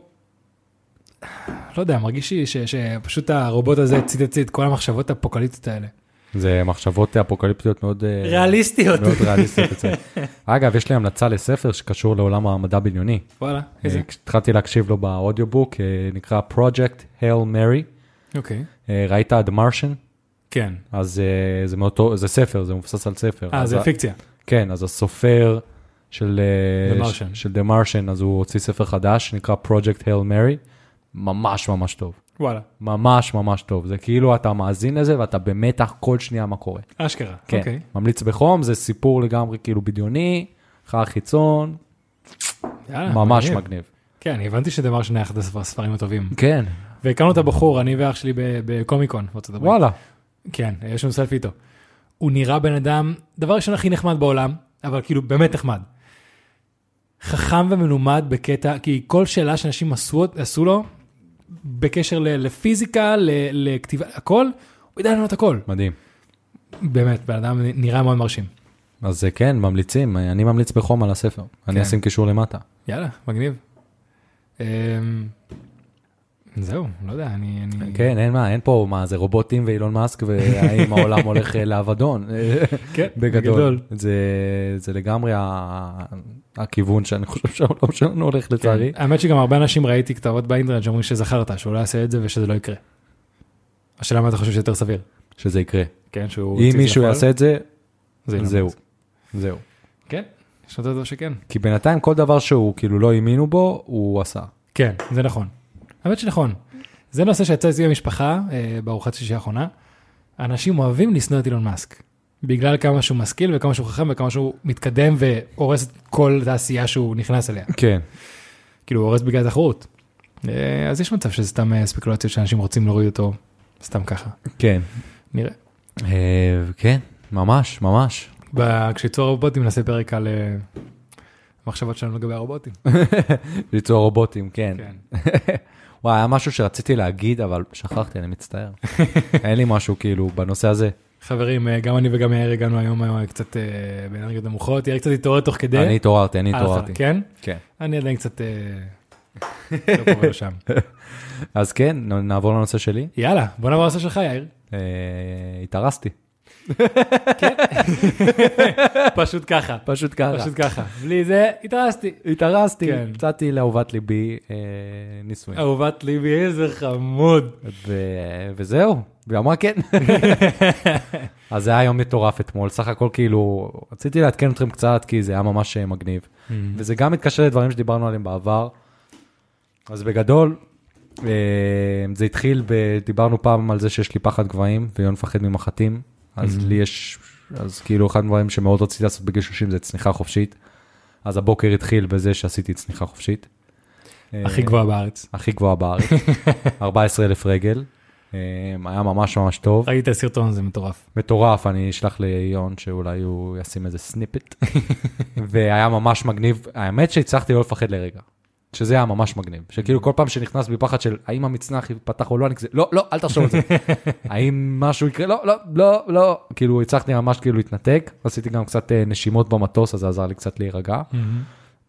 [SPEAKER 1] לא יודע, מרגיש לי ש- שפשוט הרובוט הזה הצית את- את כל המחשבות האפוקליפטיות האלה.
[SPEAKER 2] זה מחשבות אפוקליפטיות מאוד... אה,
[SPEAKER 1] ריאליסטיות.
[SPEAKER 2] מאוד ריאליסטיות אצלנו. אגב, יש לי המלצה לספר שקשור לעולם המדע הבדיוני.
[SPEAKER 1] וואלה, איזה.
[SPEAKER 2] אה, כשהתחלתי להקשיב לו באודיובוק, אה, נקרא Project Hail Mary.
[SPEAKER 1] אוקיי.
[SPEAKER 2] אה, ראית The Martian?
[SPEAKER 1] כן.
[SPEAKER 2] אז אה, זה מאותו, זה ספר, זה מבוסס על ספר.
[SPEAKER 1] אה,
[SPEAKER 2] אז
[SPEAKER 1] זה
[SPEAKER 2] ה-
[SPEAKER 1] פיקציה.
[SPEAKER 2] כן, אז הסופר של
[SPEAKER 1] The
[SPEAKER 2] אה, ש-
[SPEAKER 1] Martian.
[SPEAKER 2] של The Martian, אז הוא הוציא ספר חדש שנקרא Project Hail Mary, ממש ממש טוב.
[SPEAKER 1] וואלה,
[SPEAKER 2] ממש ממש טוב, זה כאילו אתה מאזין לזה ואתה במתח כל שנייה מה קורה.
[SPEAKER 1] אשכרה.
[SPEAKER 2] כן,
[SPEAKER 1] אוקיי.
[SPEAKER 2] ממליץ בחום, זה סיפור לגמרי כאילו בדיוני, חר חיצון,
[SPEAKER 1] יאללה,
[SPEAKER 2] ממש מגניב.
[SPEAKER 1] כן, אני הבנתי שזה דבר שני אחד הספרים הטובים.
[SPEAKER 2] כן,
[SPEAKER 1] והכרנו את הבחור, אני ואח שלי ב- בקומיקון בארצות הברית.
[SPEAKER 2] וואלה,
[SPEAKER 1] כן, יש לנו סלפי איתו. הוא נראה בן אדם, דבר ראשון הכי נחמד בעולם, אבל כאילו באמת נחמד. חכם ומלומד בקטע, כי כל שאלה שאנשים עשו, עשו לו, בקשר ל- לפיזיקה, ל- לכתיבה, הכל, הוא יודע לענות הכל.
[SPEAKER 2] מדהים.
[SPEAKER 1] באמת, בן אדם נראה מאוד מרשים.
[SPEAKER 2] אז אה, כן, ממליצים, אה, אני ממליץ בחום על הספר,
[SPEAKER 1] כן.
[SPEAKER 2] אני אשים קישור למטה.
[SPEAKER 1] יאללה, מגניב. אמ, זהו, לא יודע, אני... אני...
[SPEAKER 2] כן, אין מה, אין פה מה, זה רובוטים ואילון מאסק, והאם העולם הולך אה, לאבדון. אה,
[SPEAKER 1] כן,
[SPEAKER 2] בגדול. זה, זה לגמרי ה- הכיוון שאני חושב שהעולם שלנו הולך לצערי.
[SPEAKER 1] כן. האמת שגם הרבה אנשים ראיתי כתבות באינטרנט שאומרים שזכרת, שהוא לא יעשה את זה ושזה לא יקרה. השאלה מה אתה חושב שיותר סביר.
[SPEAKER 2] שזה יקרה.
[SPEAKER 1] כן, שהוא...
[SPEAKER 2] אם מישהו יעשה את זה,
[SPEAKER 1] זה,
[SPEAKER 2] זהו. זהו.
[SPEAKER 1] כן, יש לו דבר שכן.
[SPEAKER 2] כי בינתיים כל דבר שהוא כאילו לא האמינו בו, הוא עשה.
[SPEAKER 1] כן, זה נכון. האמת שנכון. זה נושא שיצא אצלי במשפחה אה, בארוחת שישי האחרונה. אנשים אוהבים לשנוא את אילון מאסק. בגלל כמה שהוא משכיל וכמה שהוא חכם וכמה שהוא מתקדם והורס את כל תעשייה שהוא נכנס אליה.
[SPEAKER 2] כן.
[SPEAKER 1] כאילו, הוא הורס בגלל התחרות. אה, אז יש מצב שזה סתם אה, ספקולציות שאנשים רוצים להוריד אותו סתם ככה.
[SPEAKER 2] כן.
[SPEAKER 1] נראה.
[SPEAKER 2] אה, כן, ממש, ממש.
[SPEAKER 1] ב- כשיצאו הרובוטים נעשה פרק על אה, מחשבות שלנו לגבי הרובוטים.
[SPEAKER 2] ליצור רובוטים, כן.
[SPEAKER 1] כן.
[SPEAKER 2] וואי, היה משהו שרציתי להגיד, אבל שכחתי, אני מצטער. אין לי משהו כאילו בנושא הזה.
[SPEAKER 1] חברים, אה, גם אני וגם יאיר הגענו היום אה, קצת אה, באנרגיות נמוכות, יאיר קצת התעורר תוך כדי.
[SPEAKER 2] אני התעוררתי, אני
[SPEAKER 1] אה, נכון,
[SPEAKER 2] התעוררתי.
[SPEAKER 1] כן?
[SPEAKER 2] כן.
[SPEAKER 1] אני עדיין קצת... אה, לא פה ולא שם.
[SPEAKER 2] אז כן, נ- נעבור לנושא שלי.
[SPEAKER 1] יאללה, בוא נעבור לנושא שלך, יאיר.
[SPEAKER 2] אה, התארסתי.
[SPEAKER 1] פשוט ככה.
[SPEAKER 2] פשוט ככה.
[SPEAKER 1] פשוט ככה. בלי זה, התארסתי.
[SPEAKER 2] התארסתי,
[SPEAKER 1] כן.
[SPEAKER 2] יצאתי לאהובת ליבי אה, נישואים.
[SPEAKER 1] אהובת ליבי, איזה חמוד.
[SPEAKER 2] ו- וזהו, והיא אמרה כן. אז זה היה יום מטורף אתמול, סך הכל כאילו, רציתי לעדכן אתכם קצת, כי זה היה ממש אה, מגניב. וזה גם מתקשר לדברים שדיברנו עליהם בעבר. אז בגדול, אה, זה התחיל, ב- דיברנו פעם על זה שיש לי פחד גבהים, ויון מפחד ממחטים, אז לי יש, אז כאילו אחד הדברים שמאוד רציתי לעשות בגיל 30 זה צניחה חופשית. אז הבוקר התחיל בזה שעשיתי צניחה חופשית.
[SPEAKER 1] הכי
[SPEAKER 2] אה,
[SPEAKER 1] גבוהה בארץ.
[SPEAKER 2] הכי גבוהה בארץ, 14,000 רגל, אה, היה ממש ממש טוב.
[SPEAKER 1] ראיתי את הסרטון, זה מטורף.
[SPEAKER 2] מטורף, אני אשלח ליון שאולי הוא ישים איזה סניפט. והיה ממש מגניב, האמת שהצלחתי לא לפחד לרגע, שזה היה ממש מגניב. שכאילו כל פעם שנכנס בי פחד של האם המצנח ייפתח או לא, אני כזה, לא, לא, אל תחשוב על זה. האם משהו יקרה, לא, לא, לא, לא. כאילו הצלחתי ממש כאילו להתנתק, עשיתי גם קצת אה, נשימות במטוס, אז זה עזר לי קצת להירגע.
[SPEAKER 1] Mm.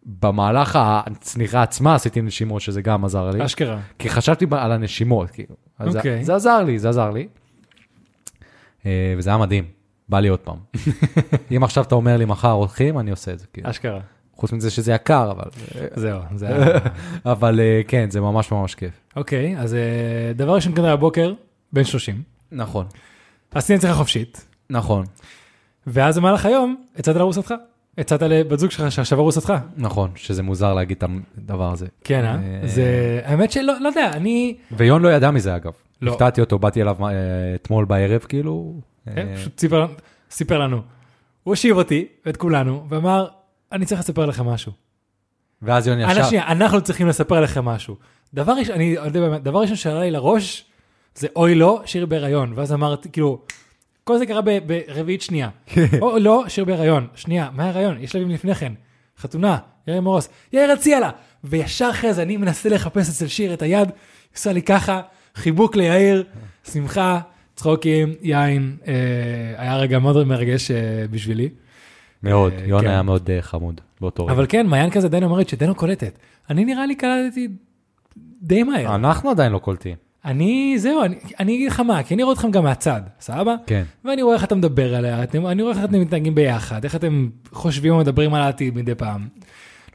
[SPEAKER 2] במהלך הצניחה עצמה עשיתי נשימות, שזה גם עזר לי.
[SPEAKER 1] אשכרה.
[SPEAKER 2] כי חשבתי ב- על הנשימות, כאילו. אז זה-
[SPEAKER 1] אוקיי.
[SPEAKER 2] זה עזר לי, זה עזר לי. אה, וזה היה מדהים, בא לי עוד פעם. אם עכשיו אתה אומר לי מחר הולכים, אני עושה את זה, כאילו.
[SPEAKER 1] אשכרה.
[SPEAKER 2] חוץ מזה שזה יקר, אבל...
[SPEAKER 1] זהו, זה היה...
[SPEAKER 2] אבל אה, כן, זה ממש ממש כיף.
[SPEAKER 1] אוקיי, אז אה, דבר ראשון כנראה הבוקר, בן 30,
[SPEAKER 2] נכון.
[SPEAKER 1] עשיתי נצחה חופשית,
[SPEAKER 2] נכון,
[SPEAKER 1] ואז במהלך היום הצעת לארוסתך. הצעת לבת זוג שלך שעכשיו ארוסתך.
[SPEAKER 2] נכון, שזה מוזר להגיד את הדבר הזה.
[SPEAKER 1] כן,
[SPEAKER 2] אה.
[SPEAKER 1] אה? זה... האמת שלא, לא יודע, אני...
[SPEAKER 2] ויון לא ידע מזה אגב.
[SPEAKER 1] לא.
[SPEAKER 2] הפתעתי אותו, באתי אליו אה, אתמול בערב, כאילו...
[SPEAKER 1] כן,
[SPEAKER 2] אה,
[SPEAKER 1] פשוט סיפר, סיפר לנו. הוא הושיב אותי ואת כולנו, ואמר, אני צריך לספר לכם משהו.
[SPEAKER 2] ואז יון
[SPEAKER 1] אה, אנא
[SPEAKER 2] ישר...
[SPEAKER 1] שנייה, אנחנו צריכים לספר לכם משהו. דבר ראשון, אני יודע באמת, דבר ראשון שעלה לי לראש, זה אוי לא, שיר בהיריון. ואז אמרתי, כאילו, כל זה קרה ב- ברביעית שנייה. או לא, שיר בהיריון. שנייה, מה ההיריון? יש שלבים לפני כן. חתונה, יאיר מורוס, יאיר הציע לה. וישר אחרי זה אני מנסה לחפש אצל שיר את היד, היא עושה לי ככה, חיבוק ליאיר, שמחה, צחוקים, יין. אה, היה רגע מאוד מרגש אה, בשבילי.
[SPEAKER 2] מאוד,
[SPEAKER 1] אה,
[SPEAKER 2] יון
[SPEAKER 1] כן.
[SPEAKER 2] היה מאוד אה, חמוד באותו רגע.
[SPEAKER 1] אבל כן, מעיין כזה עדיין אומרת שדנו קולטת. אני נראה לי קלטתי די מהר.
[SPEAKER 2] אנחנו עדיין לא קולטים.
[SPEAKER 1] אני, זהו, אני- אני אגיד לך מה, כי אני רואה אתכם גם מהצד, סבבה?
[SPEAKER 2] כן.
[SPEAKER 1] ואני רואה איך אתה מדבר עליה, אתם- אני רואה איך אתם מתנהגים ביחד, איך אתם חושבים ומדברים על העתיד מדי פעם.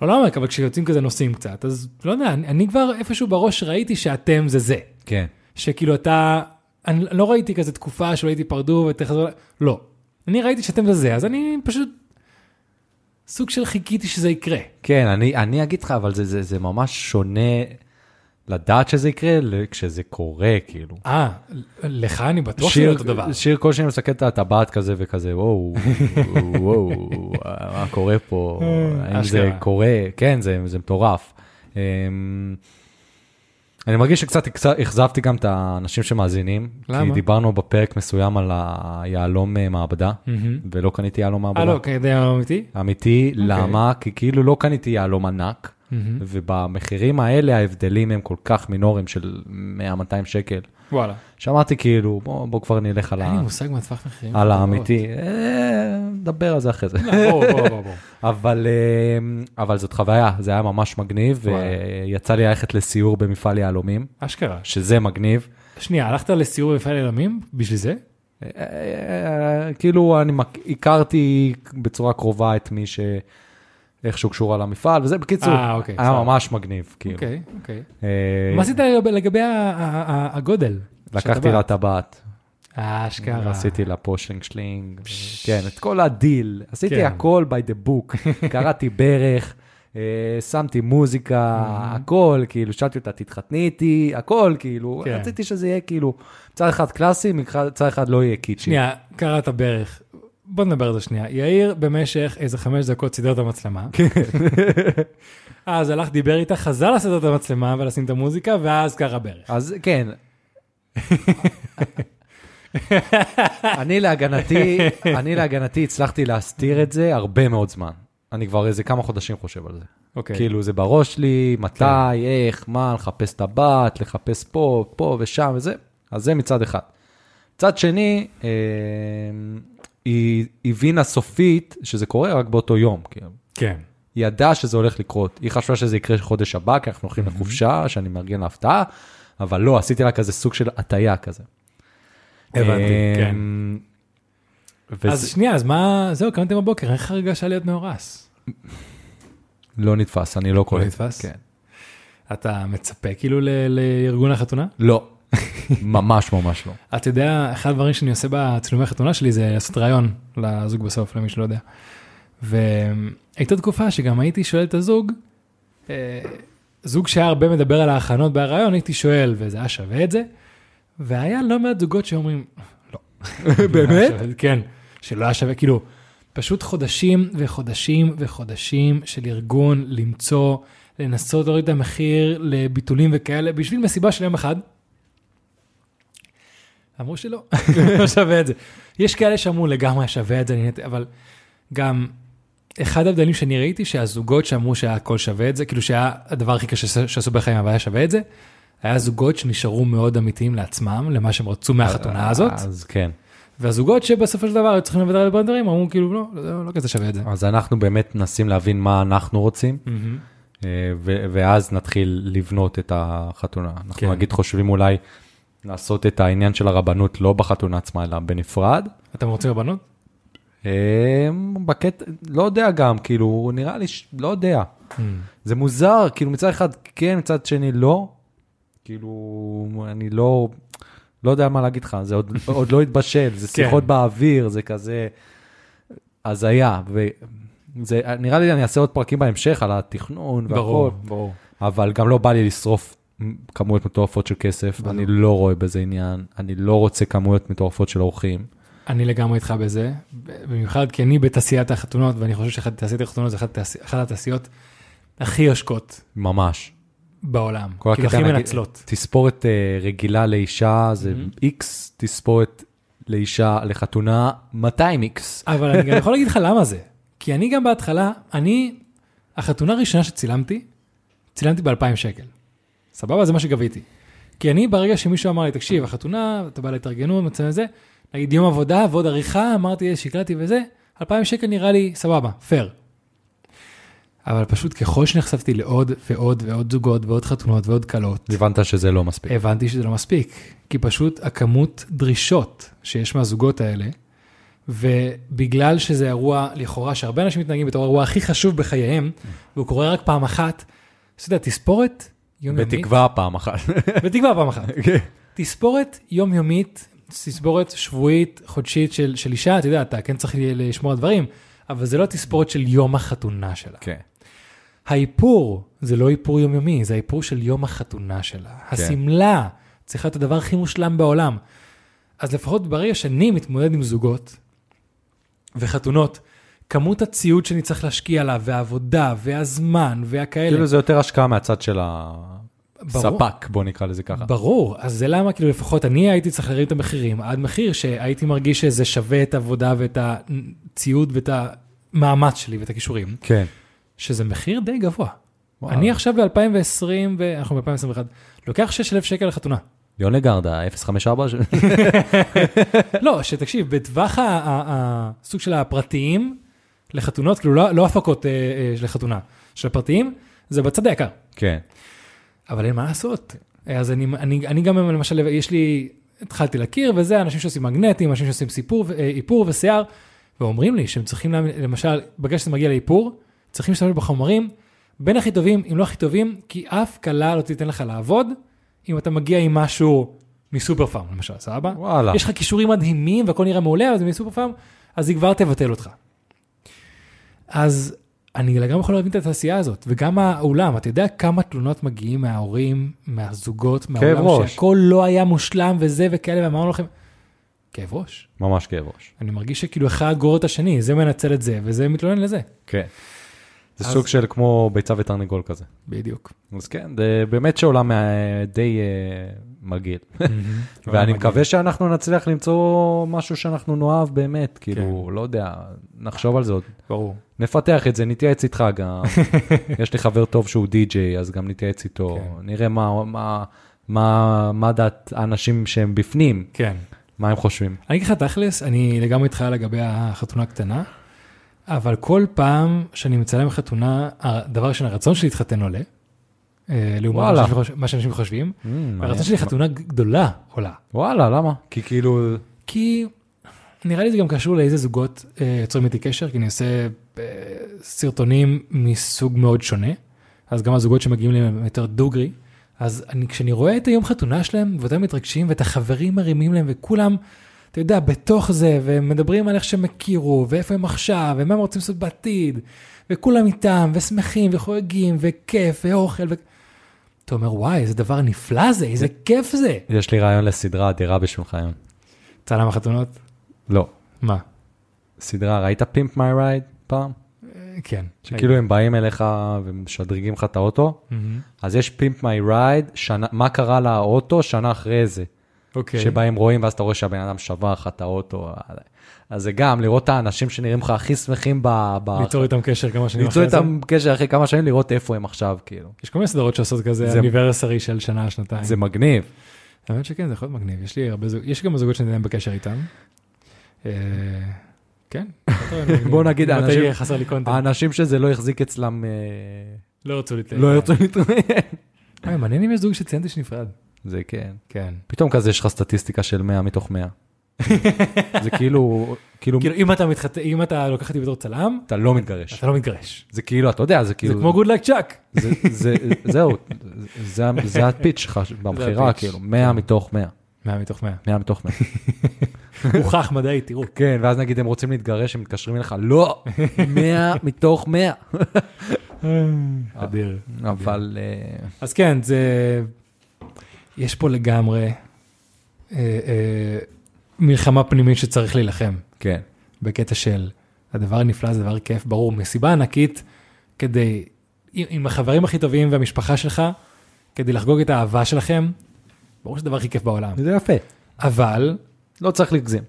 [SPEAKER 1] לא לעומק, אבל כשיוצאים כזה נושאים קצת, אז לא יודע, אני, אני כבר איפשהו בראש ראיתי שאתם זה זה.
[SPEAKER 2] כן.
[SPEAKER 1] שכאילו אתה, אני לא ראיתי כזה תקופה שלא הייתי פרדו ותחזור, לא. אני ראיתי שאתם זה זה, אז אני פשוט סוג של חיכיתי שזה יקרה.
[SPEAKER 2] כן, אני, אני אגיד לך, אבל זה, זה, זה ממש שונה לדעת שזה יקרה ל- כשזה קורה, כאילו.
[SPEAKER 1] אה, לך אני בטוח שזה לא אותו דבר.
[SPEAKER 2] שיר כל שניה מסתכל את הטבעת כזה וכזה, וואו, וואו, מה קורה פה, האם זה
[SPEAKER 1] אה, אשכרה.
[SPEAKER 2] קורה, כן, זה, זה מטורף. אמ, אני מרגיש שקצת אכז- אכזבתי גם את האנשים שמאזינים. כי
[SPEAKER 1] למה?
[SPEAKER 2] דיברנו בפרק מסוים על היהלום אה, מעבדה,
[SPEAKER 1] מהמם.
[SPEAKER 2] ולא קניתי יהלום מעבדה.
[SPEAKER 1] אה, לא, כדי אמיתי?
[SPEAKER 2] אמיתי,
[SPEAKER 1] אוקיי.
[SPEAKER 2] למה? כי כאילו לא קניתי יהלום ענק, ובמחירים האלה ההבדלים הם כל כך מינורים של 100-200 שקל.
[SPEAKER 1] וואלה.
[SPEAKER 2] אה. שאמרתי כאילו, בוא, בוא כבר נלך על,
[SPEAKER 1] אין לי
[SPEAKER 2] ה...
[SPEAKER 1] מושג לא- מה טווח מחירים. אה,
[SPEAKER 2] על
[SPEAKER 1] של
[SPEAKER 2] האמיתי, אה, נדבר על זה אחרי זה.
[SPEAKER 1] חברות. ברור, ברור, ברור, ברור.
[SPEAKER 2] אבל, אה, אבל זאת חוויה, זה היה ממש מגניב,
[SPEAKER 1] וואלה.
[SPEAKER 2] ויצא לי ללכת לסיור במפעל יהלומים,
[SPEAKER 1] אשכרה.
[SPEAKER 2] שזה מגניב.
[SPEAKER 1] שנייה, הלכת לסיור במפעל ילמים בשביל זה?
[SPEAKER 2] אה, אה, כאילו אני מק- הכרתי בצורה קרובה את מי ש... איכשהו קשורה למפעל, וזה בקיצור,
[SPEAKER 1] אה, אוקיי,
[SPEAKER 2] היה
[SPEAKER 1] סבבה.
[SPEAKER 2] ממש מגניב, כאילו.
[SPEAKER 1] אוקיי, אוקיי.
[SPEAKER 2] אה,
[SPEAKER 1] מה עשית לגבי- לגבי ה- ה- ה- הגודל?
[SPEAKER 2] לקחתי לה טבעת,
[SPEAKER 1] לה... אשכרה.
[SPEAKER 2] עשיתי לה פה שלינג שלינג, כן, את כל הדיל, עשיתי
[SPEAKER 1] כן.
[SPEAKER 2] הכל by the book, קראתי ברך, אה, שמתי מוזיקה, הכל, כאילו, שאלתי אותה, תתחתני איתי, הכל, כאילו,
[SPEAKER 1] כן.
[SPEAKER 2] רציתי שזה יהיה כאילו, מצד אחד קלאסי, מצד אחד לא יהיה קיצ'י.
[SPEAKER 1] שנייה, קראת ברך. בוא נדבר על זה שנייה. יאיר במשך איזה חמש דקות סידר את המצלמה. כן. אז הלך, דיבר איתה, חזר לסדר את המצלמה ולשים את המוזיקה, ואז קרא ברך.
[SPEAKER 2] אז כן. אני להגנתי, אני להגנתי הצלחתי להסתיר את זה הרבה מאוד זמן. אני כבר איזה כמה חודשים חושב על זה.
[SPEAKER 1] אוקיי.
[SPEAKER 2] כאילו זה בראש שלי, מתי,
[SPEAKER 1] כן.
[SPEAKER 2] איך, מה, לחפש את הבת, לחפש פה, פה ושם וזה, אז זה מצד אחד. מצד שני, אה, היא הבינה סופית שזה קורה רק באותו יום, כאילו.
[SPEAKER 1] כן.
[SPEAKER 2] היא ידעה שזה הולך לקרות. היא חשבה שזה יקרה חודש הבא, כי אנחנו הולכים לחופשה, שאני מארגן להפתעה, אבל לא, עשיתי לה כזה סוג של הטעיה כזה.
[SPEAKER 1] הבנתי,
[SPEAKER 2] אה,
[SPEAKER 1] כן.
[SPEAKER 2] וזה
[SPEAKER 1] אז שנייה, אז מה, זהו, קמתם בבוקר, איך הרגשה להיות מאורס?
[SPEAKER 2] לא נתפס, אני לא קולט.
[SPEAKER 1] נתפס?
[SPEAKER 2] כן.
[SPEAKER 1] אתה מצפה כאילו ל- לארגון החתונה?
[SPEAKER 2] לא, ממש ממש לא.
[SPEAKER 1] אתה יודע, אחד הדברים שאני עושה בצילומי חתונה שלי זה לעשות ראיון לזוג בסוף, למי שלא יודע. והייתה תקופה שגם הייתי שואל את הזוג, אה, זוג שהיה הרבה מדבר על ההכנות בהראיון, הייתי שואל, וזה היה שווה את זה? והיה לא מעט זוגות שאומרים, לא.
[SPEAKER 2] באמת?
[SPEAKER 1] כן, שלא היה שווה, כאילו, פשוט חודשים וחודשים וחודשים של ארגון למצוא, לנסות להוריד את המחיר לביטולים וכאלה, בשביל מסיבה של יום אחד. אמרו שלא, לא שווה את זה. יש כאלה שאמרו לגמרי שווה את זה, אני נהנית", אבל גם אחד ההבדלים שאני ראיתי, שהזוגות שאמרו שהכל שווה את זה, כאילו שהיה הדבר הכי קשה ש- שעשו בחיים, אבל היה שווה את זה, היה זוגות שנשארו מאוד אמיתיים לעצמם, למה שהם רצו מהחתונה הזאת,
[SPEAKER 2] אז כן.
[SPEAKER 1] והזוגות שבסופו של דבר היו צריכים לוותר על הרבה דברים, אמרו כאילו לא, לא, לא כזה שווה את זה.
[SPEAKER 2] אז אנחנו באמת מנסים להבין מה אנחנו רוצים,
[SPEAKER 1] מהמם.
[SPEAKER 2] אה, ו- ואז נתחיל לבנות את החתונה. אנחנו
[SPEAKER 1] כן.
[SPEAKER 2] נגיד חושבים אולי לעשות את העניין של הרבנות לא בחתונה עצמה, אלא בנפרד.
[SPEAKER 1] אתם רוצים רבנות?
[SPEAKER 2] אה, בקטע, לא יודע גם, כאילו, נראה לי, ש- לא יודע. זה מוזר, כאילו מצד אחד כן, מצד שני לא. כאילו, אני לא, לא יודע מה להגיד לך, זה עוד, עוד לא התבשל, זה שיחות
[SPEAKER 1] כן.
[SPEAKER 2] באוויר, זה כזה הזיה. וזה, נראה לי אני אעשה עוד פרקים בהמשך על התכנון
[SPEAKER 1] ברור,
[SPEAKER 2] והכל,
[SPEAKER 1] ברור.
[SPEAKER 2] אבל גם לא בא לי לשרוף כמויות מטורפות של כסף,
[SPEAKER 1] ברור.
[SPEAKER 2] אני לא רואה בזה עניין, אני לא רוצה כמויות מטורפות של אורחים.
[SPEAKER 1] אני לגמרי איתך בזה, במיוחד כי אני בתעשיית החתונות, ואני חושב שתעשיית החתונות זה אחת התעשי- אחת התעשיות הכי עושקות
[SPEAKER 2] ממש.
[SPEAKER 1] בעולם.
[SPEAKER 2] כל
[SPEAKER 1] כאילו
[SPEAKER 2] הקטע,
[SPEAKER 1] הכי
[SPEAKER 2] נגיד,
[SPEAKER 1] מנצלות.
[SPEAKER 2] תספורת אה, רגילה לאישה זה איקס, תספורת לאישה לחתונה 200 איקס.
[SPEAKER 1] אבל אני גם יכול להגיד לך למה זה. כי אני גם בהתחלה, אני, החתונה הראשונה שצילמתי, צילמתי ב-2,000 שקל. סבבה? זה מה שגביתי. כי אני, ברגע שמישהו אמר לי, תקשיב, החתונה, אתה בא להתארגנות, מצב זה, נגיד יום עבודה ועוד עריכה, אמרתי, שקלעתי וזה, 2,000 שקל נראה לי סבבה, פייר. אבל פשוט ככל שנחשפתי לעוד ועוד ועוד זוגות ועוד חתונות ועוד כלות,
[SPEAKER 2] הבנת שזה לא מספיק.
[SPEAKER 1] הבנתי שזה לא מספיק, כי פשוט הכמות דרישות שיש מהזוגות האלה, ובגלל שזה אירוע לכאורה שהרבה אנשים מתנהגים בתור האירוע הכי חשוב בחייהם,
[SPEAKER 2] כן.
[SPEAKER 1] והוא קורה רק פעם אחת, אז אתה יודע, תספורת יומיומית,
[SPEAKER 2] בתקווה כן. פעם אחת.
[SPEAKER 1] בתקווה פעם אחת, תספורת יומיומית, תספורת שבועית, חודשית של, של אישה, אתה יודע, אתה כן צריך לשמור על דברים, אבל זה לא תספורת של יום החתונה שלה.
[SPEAKER 2] כן.
[SPEAKER 1] האיפור זה לא איפור יומיומי, זה האיפור של יום החתונה שלה.
[SPEAKER 2] כן.
[SPEAKER 1] השמלה צריכה להיות הדבר הכי מושלם בעולם. אז לפחות ברגע שאני מתמודד עם זוגות וחתונות, כמות הציוד שאני צריך להשקיע לה, והעבודה, והזמן, והכאלה.
[SPEAKER 2] כאילו זה יותר השקעה מהצד של
[SPEAKER 1] ברור.
[SPEAKER 2] הספק, בוא נקרא לזה ככה.
[SPEAKER 1] ברור, אז זה למה כאילו לפחות אני הייתי צריך להרים את המחירים עד מחיר שהייתי מרגיש שזה שווה את העבודה ואת הציוד ואת המאמץ שלי ואת הכישורים,
[SPEAKER 2] כן.
[SPEAKER 1] שזה מחיר די גבוה.
[SPEAKER 2] וואו.
[SPEAKER 1] אני עכשיו ב-2020, אנחנו ב-2021, לוקח 6,000 שקל לחתונה.
[SPEAKER 2] יוני גרדה, 054, ש-
[SPEAKER 1] לא, שתקשיב, בטווח ה- ה- ה- הסוג של הפרטיים לחתונות, כאילו לא, לא הפקות אה, אה, של החתונה, של הפרטיים, זה בצד היקר.
[SPEAKER 2] כן.
[SPEAKER 1] אבל אין מה לעשות. אה, אז אני, אני, אני גם למשל, יש לי, התחלתי להכיר וזה, אנשים שעושים מגנטים, אנשים שעושים סיפור, ו- אה, איפור ושיער, ואומרים לי שהם צריכים, להמ- למשל, ברגע שזה מגיע לאיפור, צריכים להשתמש בחומרים, בין הכי טובים, אם לא הכי טובים, כי אף כלה לא תיתן לך לעבוד, אם אתה מגיע עם משהו מסופר פארם, למשל, סבבה?
[SPEAKER 2] וואלה.
[SPEAKER 1] יש לך כישורים מדהימים והכל נראה מעולה, אבל זה מסופר פארם, אז היא כבר תבטל אותך. אז אני לגמרי יכול להבין את התעשייה הזאת, וגם האולם, אתה יודע כמה תלונות מגיעים מההורים, מהזוגות,
[SPEAKER 2] כאב
[SPEAKER 1] מהאולם,
[SPEAKER 2] ראש.
[SPEAKER 1] שהכל לא היה מושלם וזה וכאלה, ואמרנו לכם, כאב ראש.
[SPEAKER 2] ממש כאב ראש.
[SPEAKER 1] אני מרגיש שכאילו אחד גורר את השני, זה מנצל את זה, וזה מתלונן לזה.
[SPEAKER 2] כן. זה
[SPEAKER 1] אז-
[SPEAKER 2] סוג של כמו ביצה ותרנגול כזה.
[SPEAKER 1] בדיוק.
[SPEAKER 2] אז כן, זה באמת שעולם אה, די אה, מגעיל. ואני
[SPEAKER 1] מגעיל.
[SPEAKER 2] מקווה שאנחנו נצליח למצוא משהו שאנחנו נאהב באמת, כאילו, לא יודע, נחשוב על זה עוד.
[SPEAKER 1] ברור.
[SPEAKER 2] נפתח את זה, נתייעץ איתך גם. יש לי חבר טוב שהוא די-ג'יי, אז גם נתייעץ איתו.
[SPEAKER 1] כן.
[SPEAKER 2] נראה מה- מה- מה מה דעת האנשים שהם בפנים,
[SPEAKER 1] כן.
[SPEAKER 2] מה הם חושבים.
[SPEAKER 1] אני אגיד לך תכלס, אני לגמרי איתך לגבי החתונה הקטנה, אבל כל פעם שאני מצלם חתונה, הדבר ראשון, הרצון שלי להתחתן עולה, אה, לעומת מה
[SPEAKER 2] וואלה.
[SPEAKER 1] שאנשים חוש- מה שאנשים חושבים,
[SPEAKER 2] Mm, מעניין.
[SPEAKER 1] והרצון שלי לחתונה גדולה עולה.
[SPEAKER 2] וואלה, למה? כי כאילו,
[SPEAKER 1] כי נראה לי זה גם קשור לאיזה זוגות אה, יוצרים איתי קשר, כי אני עושה אה, סרטונים מסוג מאוד שונה, אז גם הזוגות שמגיעים אליהם הם יותר דוגרי, אז אני, כשאני רואה את היום חתונה שלהם, ואותם מתרגשים, ואת החברים מרימים להם, וכולם, אתה יודע, בתוך זה, והם מדברים על איך שהם הכירו, ואיפה הם עכשיו, ומה הם רוצים לעשות בעתיד, וכולם איתם, ושמחים, וחוגגים, וכיף, ואוכל, ו... אתה אומר, וואי, איזה דבר נפלא זה, איזה כיף זה.
[SPEAKER 2] יש לי רעיון לסדרה אדירה בשבילך היום.
[SPEAKER 1] צלם החתונות?
[SPEAKER 2] לא,
[SPEAKER 1] מה?
[SPEAKER 2] סדרה, ראית פימפ מיי רייד פעם?
[SPEAKER 1] כן.
[SPEAKER 2] שכאילו הם באים אליך ומשדרגים לך את האוטו,
[SPEAKER 1] מהמם.
[SPEAKER 2] אז יש פימפ מיי רייד, מה קרה לאוטו שנה אחרי זה.
[SPEAKER 1] אוקיי.
[SPEAKER 2] שבה הם רואים, ואז אתה רואה שהבן אדם שבר לך את האוטו. אה, אז זה גם, לראות את האנשים שנראים לך הכי שמחים ב... ב...
[SPEAKER 1] ליצור איתם קשר כמה שנים
[SPEAKER 2] ליצור
[SPEAKER 1] אחרי זה.
[SPEAKER 2] איתם קשר אחרי כמה שנים, לראות איפה הם עכשיו, כאילו.
[SPEAKER 1] יש כל מיני סדרות שעושות כזה
[SPEAKER 2] זה-
[SPEAKER 1] אוניברסרי של שנה, שנתיים.
[SPEAKER 2] זה מגניב.
[SPEAKER 1] האמת שכן, זה יכול להיות מגניב. יש לי הרבה זוג, יש גם זוגות שאני עדיין בקשר איתם. אה, כן.
[SPEAKER 2] בוא נגיד,
[SPEAKER 1] מתי
[SPEAKER 2] האנשים-
[SPEAKER 1] יהיה חסר לי קונטנט.
[SPEAKER 2] האנשים שזה לא החזיק אצלם, אה,
[SPEAKER 1] לא ירצו להתלהם.
[SPEAKER 2] לא ירצו להתראיין.
[SPEAKER 1] אה, מעניין אם יש זוג שציינתי שנפרד.
[SPEAKER 2] זה כן.
[SPEAKER 1] כן.
[SPEAKER 2] פתאום כזה יש לך סטטיסטיקה של 100 מתוך 100. זה כאילו, כאילו,
[SPEAKER 1] כאילו, אם אתה מתחת... אם אתה לוקח אותי בתור צלם,
[SPEAKER 2] אתה לא מתגרש.
[SPEAKER 1] אתה לא מתגרש.
[SPEAKER 2] זה כאילו, אתה יודע, זה
[SPEAKER 1] זה
[SPEAKER 2] כאילו,
[SPEAKER 1] כמו גוד לק צ'אק.
[SPEAKER 2] זה- זה- זהו, זה- זה הפיץ' שלך במכירה,
[SPEAKER 1] הפיץ'.
[SPEAKER 2] כאילו, 100 מתוך 100.
[SPEAKER 1] 100 מתוך 100.
[SPEAKER 2] 100 מתוך 100.
[SPEAKER 1] הוכח מדעית, תראו.
[SPEAKER 2] כן, ואז נגיד הם רוצים להתגרש, הם מתקשרים אליך, לא, 100 מתוך 100.
[SPEAKER 1] אדיר.
[SPEAKER 2] אבל אה,
[SPEAKER 1] אז כן, זה... יש פה לגמרי אה, אה, מלחמה פנימית שצריך להילחם,
[SPEAKER 2] כן,
[SPEAKER 1] בקטע של הדבר הנפלא זה דבר כיף, ברור, מסיבה ענקית, כדי, עם, עם החברים הכי טובים והמשפחה שלך, כדי לחגוג את האהבה שלכם, ברור שזה הדבר הכי כיף בעולם.
[SPEAKER 2] זה יפה,
[SPEAKER 1] אבל,
[SPEAKER 2] לא צריך להגזים.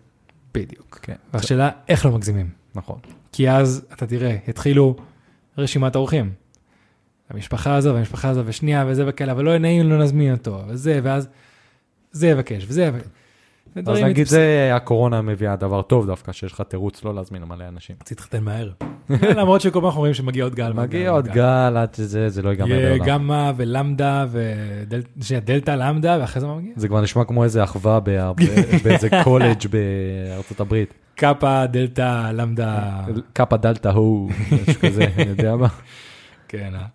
[SPEAKER 1] בדיוק.
[SPEAKER 2] כן,
[SPEAKER 1] והשאלה, איך לא מגזימים?
[SPEAKER 2] נכון.
[SPEAKER 1] כי אז אתה תראה, יתחילו רשימת האורחים. המשפחה הזו והמשפחה הזו ושנייה וזה וכאלה, אבל לא נעים, לא נזמין אותו, וזה, ואז זה יבקש, וזה יבקש.
[SPEAKER 2] אז
[SPEAKER 1] ודברים
[SPEAKER 2] נגיד
[SPEAKER 1] מתפס-
[SPEAKER 2] זה הקורונה מביאה דבר טוב דווקא, שיש לך תירוץ לא להזמין מלא אנשים.
[SPEAKER 1] תתחתן מהר. כן, למרות שכל פעם אנחנו אומרים שמגיע עוד גל.
[SPEAKER 2] מגיע עוד גל עד שזה, זה לא ייגמר
[SPEAKER 1] יהיה
[SPEAKER 2] בעולם.
[SPEAKER 1] גמא ולמדה ודל- שנייה, דלתא, למדה, ואחרי זה מה מגיע?
[SPEAKER 2] זה כבר נשמע כמו איזה אחווה בה- באיזה קולג' בארצות הברית.
[SPEAKER 1] קאפה, דלתא, למדה.
[SPEAKER 2] אה. קאפה דלתא הוא, משהו כזה, אני יודע מה.
[SPEAKER 1] כן, אה.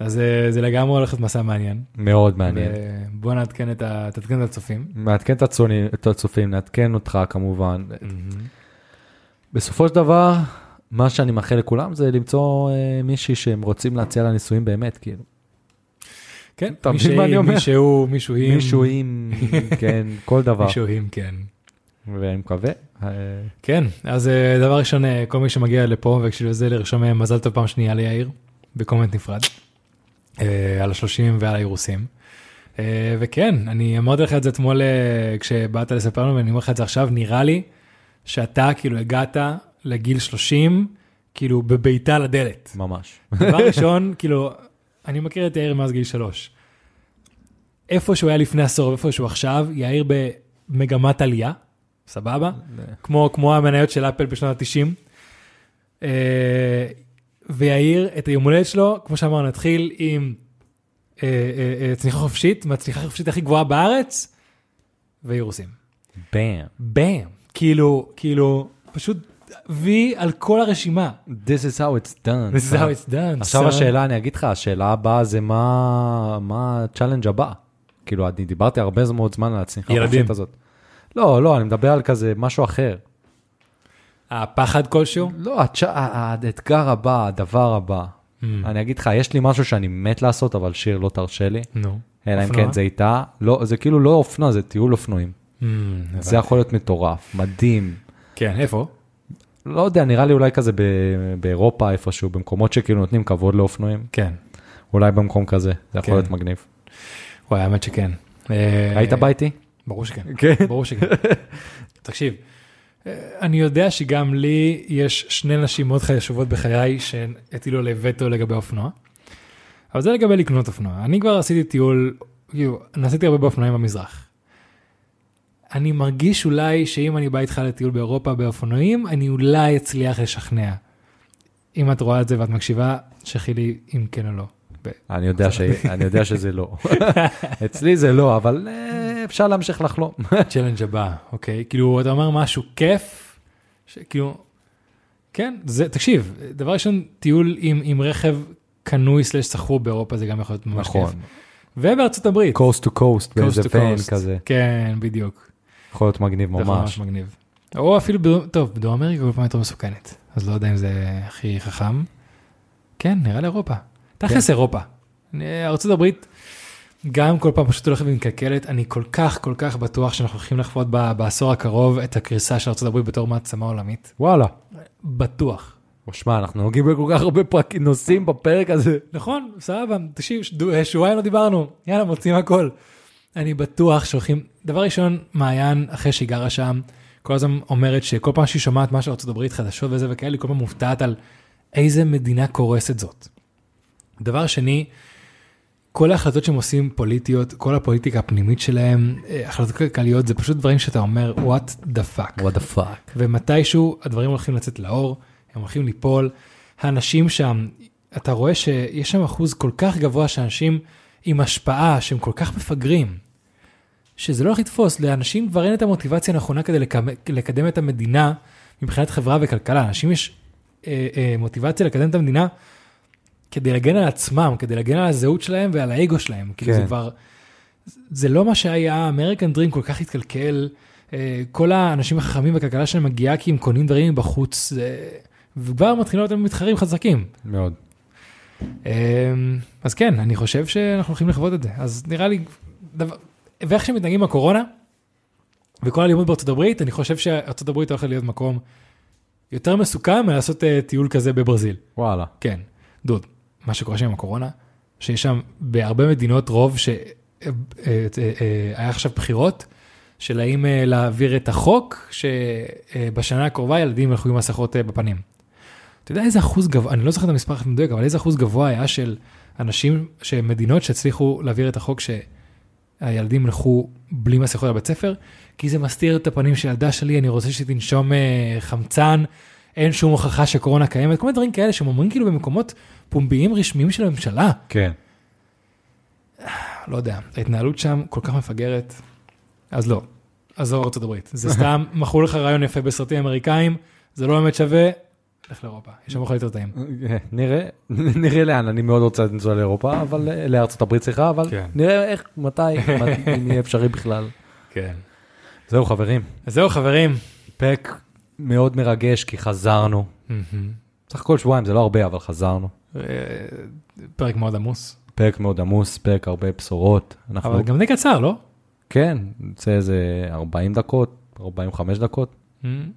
[SPEAKER 1] אז אה, זה לגמרי הולך להיות מסע מעניין.
[SPEAKER 2] מאוד מעניין.
[SPEAKER 1] בוא נעדכן את ה- תעדכן את הצופים.
[SPEAKER 2] נעדכן את הצופים- את הצופים, נעדכן אותך כמובן. בסופו של דבר, מה שאני מאחל לכולם זה למצוא אה, מישהי שהם רוצים להציע לה נישואים באמת, כאילו.
[SPEAKER 1] כן,
[SPEAKER 2] אתה מבין מה אני אומר?
[SPEAKER 1] מישהו, מישהו עם,
[SPEAKER 2] מישהו עם, כן, כל דבר.
[SPEAKER 1] מישהו עם, כן.
[SPEAKER 2] ואני מקווה. אה,
[SPEAKER 1] כן, אז אה, דבר ראשון, אה, כל מי שמגיע לפה, ובשביל זה לרשום אה, מזל טוב פעם שנייה ליאיר, בקומנט נפרד, אה, על השלושים ועל האירוסים. אה, וכן, אני אמרתי לך את זה אתמול אה, כשבאת לספר לנו, ואני אומר לך את זה עכשיו, נראה לי שאתה כאילו הגעת לגיל 30, כאילו בביתה לדלת.
[SPEAKER 2] ממש.
[SPEAKER 1] דבר ראשון, כאילו, אני מכיר את יאיר מאז גיל שלוש. איפה שהוא היה לפני עשור, איפה שהוא עכשיו, יאיר במגמת עלייה, סבבה? כמו, כמו המניות של אפל בשנות ה-90. אה, ויאיר, את היום הולדת שלו, כמו שאמרנו, נתחיל עם אה, אה, אה, צניחה חופשית, מהצניחה החופשית הכי גבוהה בארץ, ואירוסים.
[SPEAKER 2] באם.
[SPEAKER 1] באם. כאילו, כאילו, פשוט וי על כל הרשימה.
[SPEAKER 2] This is how it's done.
[SPEAKER 1] This is how it's done.
[SPEAKER 2] עכשיו
[SPEAKER 1] son.
[SPEAKER 2] השאלה, אני אגיד לך, השאלה הבאה זה מה מה הצ'אלנג' הבא. כאילו, אני דיברתי הרבה זמן- מאוד זמן על הצניחה
[SPEAKER 1] ילדים.
[SPEAKER 2] החופשית הזאת. לא, לא, אני מדבר על כזה משהו אחר.
[SPEAKER 1] הפחד כלשהו?
[SPEAKER 2] לא, הצ'- ה- ה- האתגר הבא, הדבר הבא.
[SPEAKER 1] Mm. אה,
[SPEAKER 2] אני אגיד לך, יש לי משהו שאני מת לעשות, אבל שיר לא תרשה לי.
[SPEAKER 1] נו.
[SPEAKER 2] אלא אם
[SPEAKER 1] אופנוע? Mm.
[SPEAKER 2] כן זה איתה. לא, זה כאילו לא אופנוע, זה טיול אופנועים. זה יכול להיות מטורף, מדהים.
[SPEAKER 1] כן, איפה?
[SPEAKER 2] לא יודע, נראה לי אולי כזה ב- באירופה איפשהו, במקומות שכאילו נותנים כבוד לאופנועים.
[SPEAKER 1] כן.
[SPEAKER 2] אולי במקום כזה, זה יכול
[SPEAKER 1] כן.
[SPEAKER 2] להיות מגניב.
[SPEAKER 1] וואי, האמת שכן. אה,
[SPEAKER 2] היית בא איתי?
[SPEAKER 1] ברור שכן.
[SPEAKER 2] כן.
[SPEAKER 1] ברור שכן. תקשיב, אה, אני יודע שגם לי יש שני נשים מאוד חשובות בחיי שהטילו עלי וטו לגבי אופנוע. אבל זה לגבי לקנות אופנוע. אני כבר עשיתי טיול, כאילו, נסעתי הרבה באופנועים במזרח. אני מרגיש אולי שאם אני בא איתך לטיול באירופה באופנועים, אני אולי אצליח לשכנע. אם את רואה את זה ואת מקשיבה, שלחי לי אם כן או לא. ב-
[SPEAKER 2] אני יודע ש- אני יודע שזה לא. אצלי זה לא, אבל אה, אפשר להמשיך לחלום.
[SPEAKER 1] הצ'לנג' הבא, אוקיי? כאילו, אתה אומר משהו כיף, ש- כאילו, כן, זה, תקשיב, דבר ראשון, טיול עם, עם רכב קנוי סלש סחור באירופה זה גם יכול להיות ממש
[SPEAKER 2] נכון.
[SPEAKER 1] כיף. ובארצות הברית.
[SPEAKER 2] קוסט טו קוסט,
[SPEAKER 1] coast
[SPEAKER 2] באיזה
[SPEAKER 1] to
[SPEAKER 2] פן
[SPEAKER 1] coast.
[SPEAKER 2] כזה.
[SPEAKER 1] כן, בדיוק.
[SPEAKER 2] יכול להיות מגניב
[SPEAKER 1] זה יכול להיות
[SPEAKER 2] ממש.
[SPEAKER 1] מגניב. או אפילו, בדרום, טוב, בדרום אמריקה כל פעם יותר מסוכנת, אז לא יודע אם זה הכי חכם. כן, נראה לי אירופה. תכלס אירופה. אה, ארצות הברית, גם כל פעם פשוט הולכת ומתקלקלת, אני כל כך כל כך בטוח שאנחנו הולכים לחוות ב- בעשור הקרוב את הקריסה של ארצות הברית בתור מעצמה עולמית.
[SPEAKER 2] וואלה.
[SPEAKER 1] בטוח.
[SPEAKER 2] או שמע, אנחנו נוגעים בכל כך הרבה פרקים, נושאים בפרק הזה.
[SPEAKER 1] נכון, סבבה, תקשיב, שדו- שבועיים לא דיברנו, יאללה, מוצאים הכל. אני בטוח שהולכים, דבר ראשון, מעיין, אחרי שהיא גרה שם, כל הזמן אומרת שכל פעם שהיא שומעת משהו על ארה"ב חדשות וזה וכאלה, היא כל פעם מופתעת על איזה מדינה קורסת זאת. דבר שני, כל ההחלטות שהם עושים פוליטיות, כל הפוליטיקה הפנימית שלהם, אה, החלטות כלכליות, זה פשוט דברים שאתה אומר, what the fuck.
[SPEAKER 2] what the fuck.
[SPEAKER 1] ומתישהו הדברים הולכים לצאת לאור, הם הולכים ליפול. האנשים שם, אתה רואה שיש שם אחוז כל כך גבוה של אנשים עם השפעה שהם כל כך מפגרים, שזה לא הולך לתפוס, לאנשים כבר אין את המוטיבציה הנכונה כדי לקמ- לקדם את המדינה מבחינת חברה וכלכלה. לאנשים יש אה, אה, מוטיבציה לקדם את המדינה כדי להגן על עצמם, כדי להגן על הזהות שלהם ועל האגו שלהם. כאילו זה
[SPEAKER 2] כן.
[SPEAKER 1] כבר, זה לא מה שהיה, אמריקן דרים כל כך התקלקל, אה, כל האנשים החכמים בכלכלה שלהם מגיעה כי הם קונים דברים מבחוץ, זה- וכבר מתחילים להיות מתחרים חזקים.
[SPEAKER 2] מאוד.
[SPEAKER 1] אמ, אז כן, אני חושב שאנחנו הולכים לחוות את זה. אז נראה לי, דבר, ואיך שמתנהגים עם הקורונה, וכל הלימוד בארצות הברית, אני חושב שארצות הברית הולכת להיות מקום יותר מסוכן מלעשות אה, טיול כזה בברזיל.
[SPEAKER 2] וואלה.
[SPEAKER 1] כן, דוד, מה שקורה שם עם הקורונה, שיש שם בהרבה מדינות רוב אה, שהיה אה, עכשיו בחירות, של האם אה, להעביר את החוק שבשנה הקרובה ילדים ילכו עם מסכות אה, בפנים. אתה יודע איזה אחוז גבוה, אני לא זוכר את המספר המדויק, אבל איזה אחוז גבוה היה של אנשים, שמדינות שהצליחו להעביר את החוק שהילדים ילכו בלי מסכות לבית ספר, כי זה מסתיר את הפנים של ילדה שלי, אני רוצה שתנשום אה, חמצן, אין שום הוכחה שקורונה קיימת, כל מיני דברים כאלה שהם אומרים כאילו במקומות פומביים רשמיים של הממשלה.
[SPEAKER 2] כן.
[SPEAKER 1] לא יודע, ההתנהלות שם כל כך מפגרת, אז לא, עזוב ארצות הברית. זה סתם, מכרו לך רעיון יפה בסרטים אמריקאים, זה לא באמת שווה, לך לאירופה, יש שם אוכל יותר טעים.
[SPEAKER 2] אה, נראה, נראה לאן, אני מאוד רוצה לנסוע לאירופה, אבל אה, לארצות הברית סליחה, אבל
[SPEAKER 1] כן.
[SPEAKER 2] נראה איך, מתי, מת- אם יהיה אפשרי בכלל.
[SPEAKER 1] כן.
[SPEAKER 2] זהו חברים,
[SPEAKER 1] אז זהו חברים.
[SPEAKER 2] פק מאוד מרגש כי חזרנו. סך הכל שבועיים זה לא הרבה אבל חזרנו.
[SPEAKER 1] אה, פרק מאוד עמוס,
[SPEAKER 2] פרק מאוד עמוס, פרק הרבה בשורות. אנחנו,
[SPEAKER 1] אבל גם די קצר, לא?
[SPEAKER 2] כן, זה איזה 40 דקות, 45 דקות.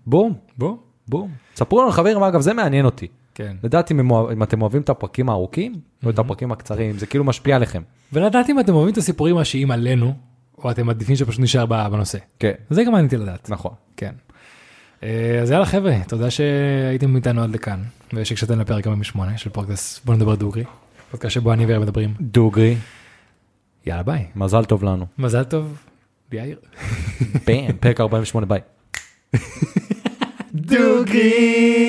[SPEAKER 2] בום,
[SPEAKER 1] Mm, בוא.
[SPEAKER 2] בום. ספרו לנו חברים, אגב זה מעניין אותי.
[SPEAKER 1] כן.
[SPEAKER 2] לדעת אם הם אוה- אם אתם אוהבים את הפרקים הארוכים או את הפרקים הקצרים, זה כאילו משפיע עליכם.
[SPEAKER 1] ולדעת אם אתם אוהבים את הסיפורים האשיים עלינו, או אתם מעדיפים שפשוט נשאר ב- בנושא.
[SPEAKER 2] כן,
[SPEAKER 1] זה גם מעניין אותי לדעת.
[SPEAKER 2] נכון.
[SPEAKER 1] כן. אה, אז יאללה חבר'ה, תודה שהייתם איתנו עד לכאן, ושקשבתם לפרק 48 של פרקס בוא נדבר דוגרי, פודקאסט שבו אני ואיר מדברים.
[SPEAKER 2] דוגרי,
[SPEAKER 1] יאללה ביי.
[SPEAKER 2] מזל טוב לנו.
[SPEAKER 1] מזל טוב, יאיר.
[SPEAKER 2] בם, פרק 48 ביי.
[SPEAKER 1] דוגרי!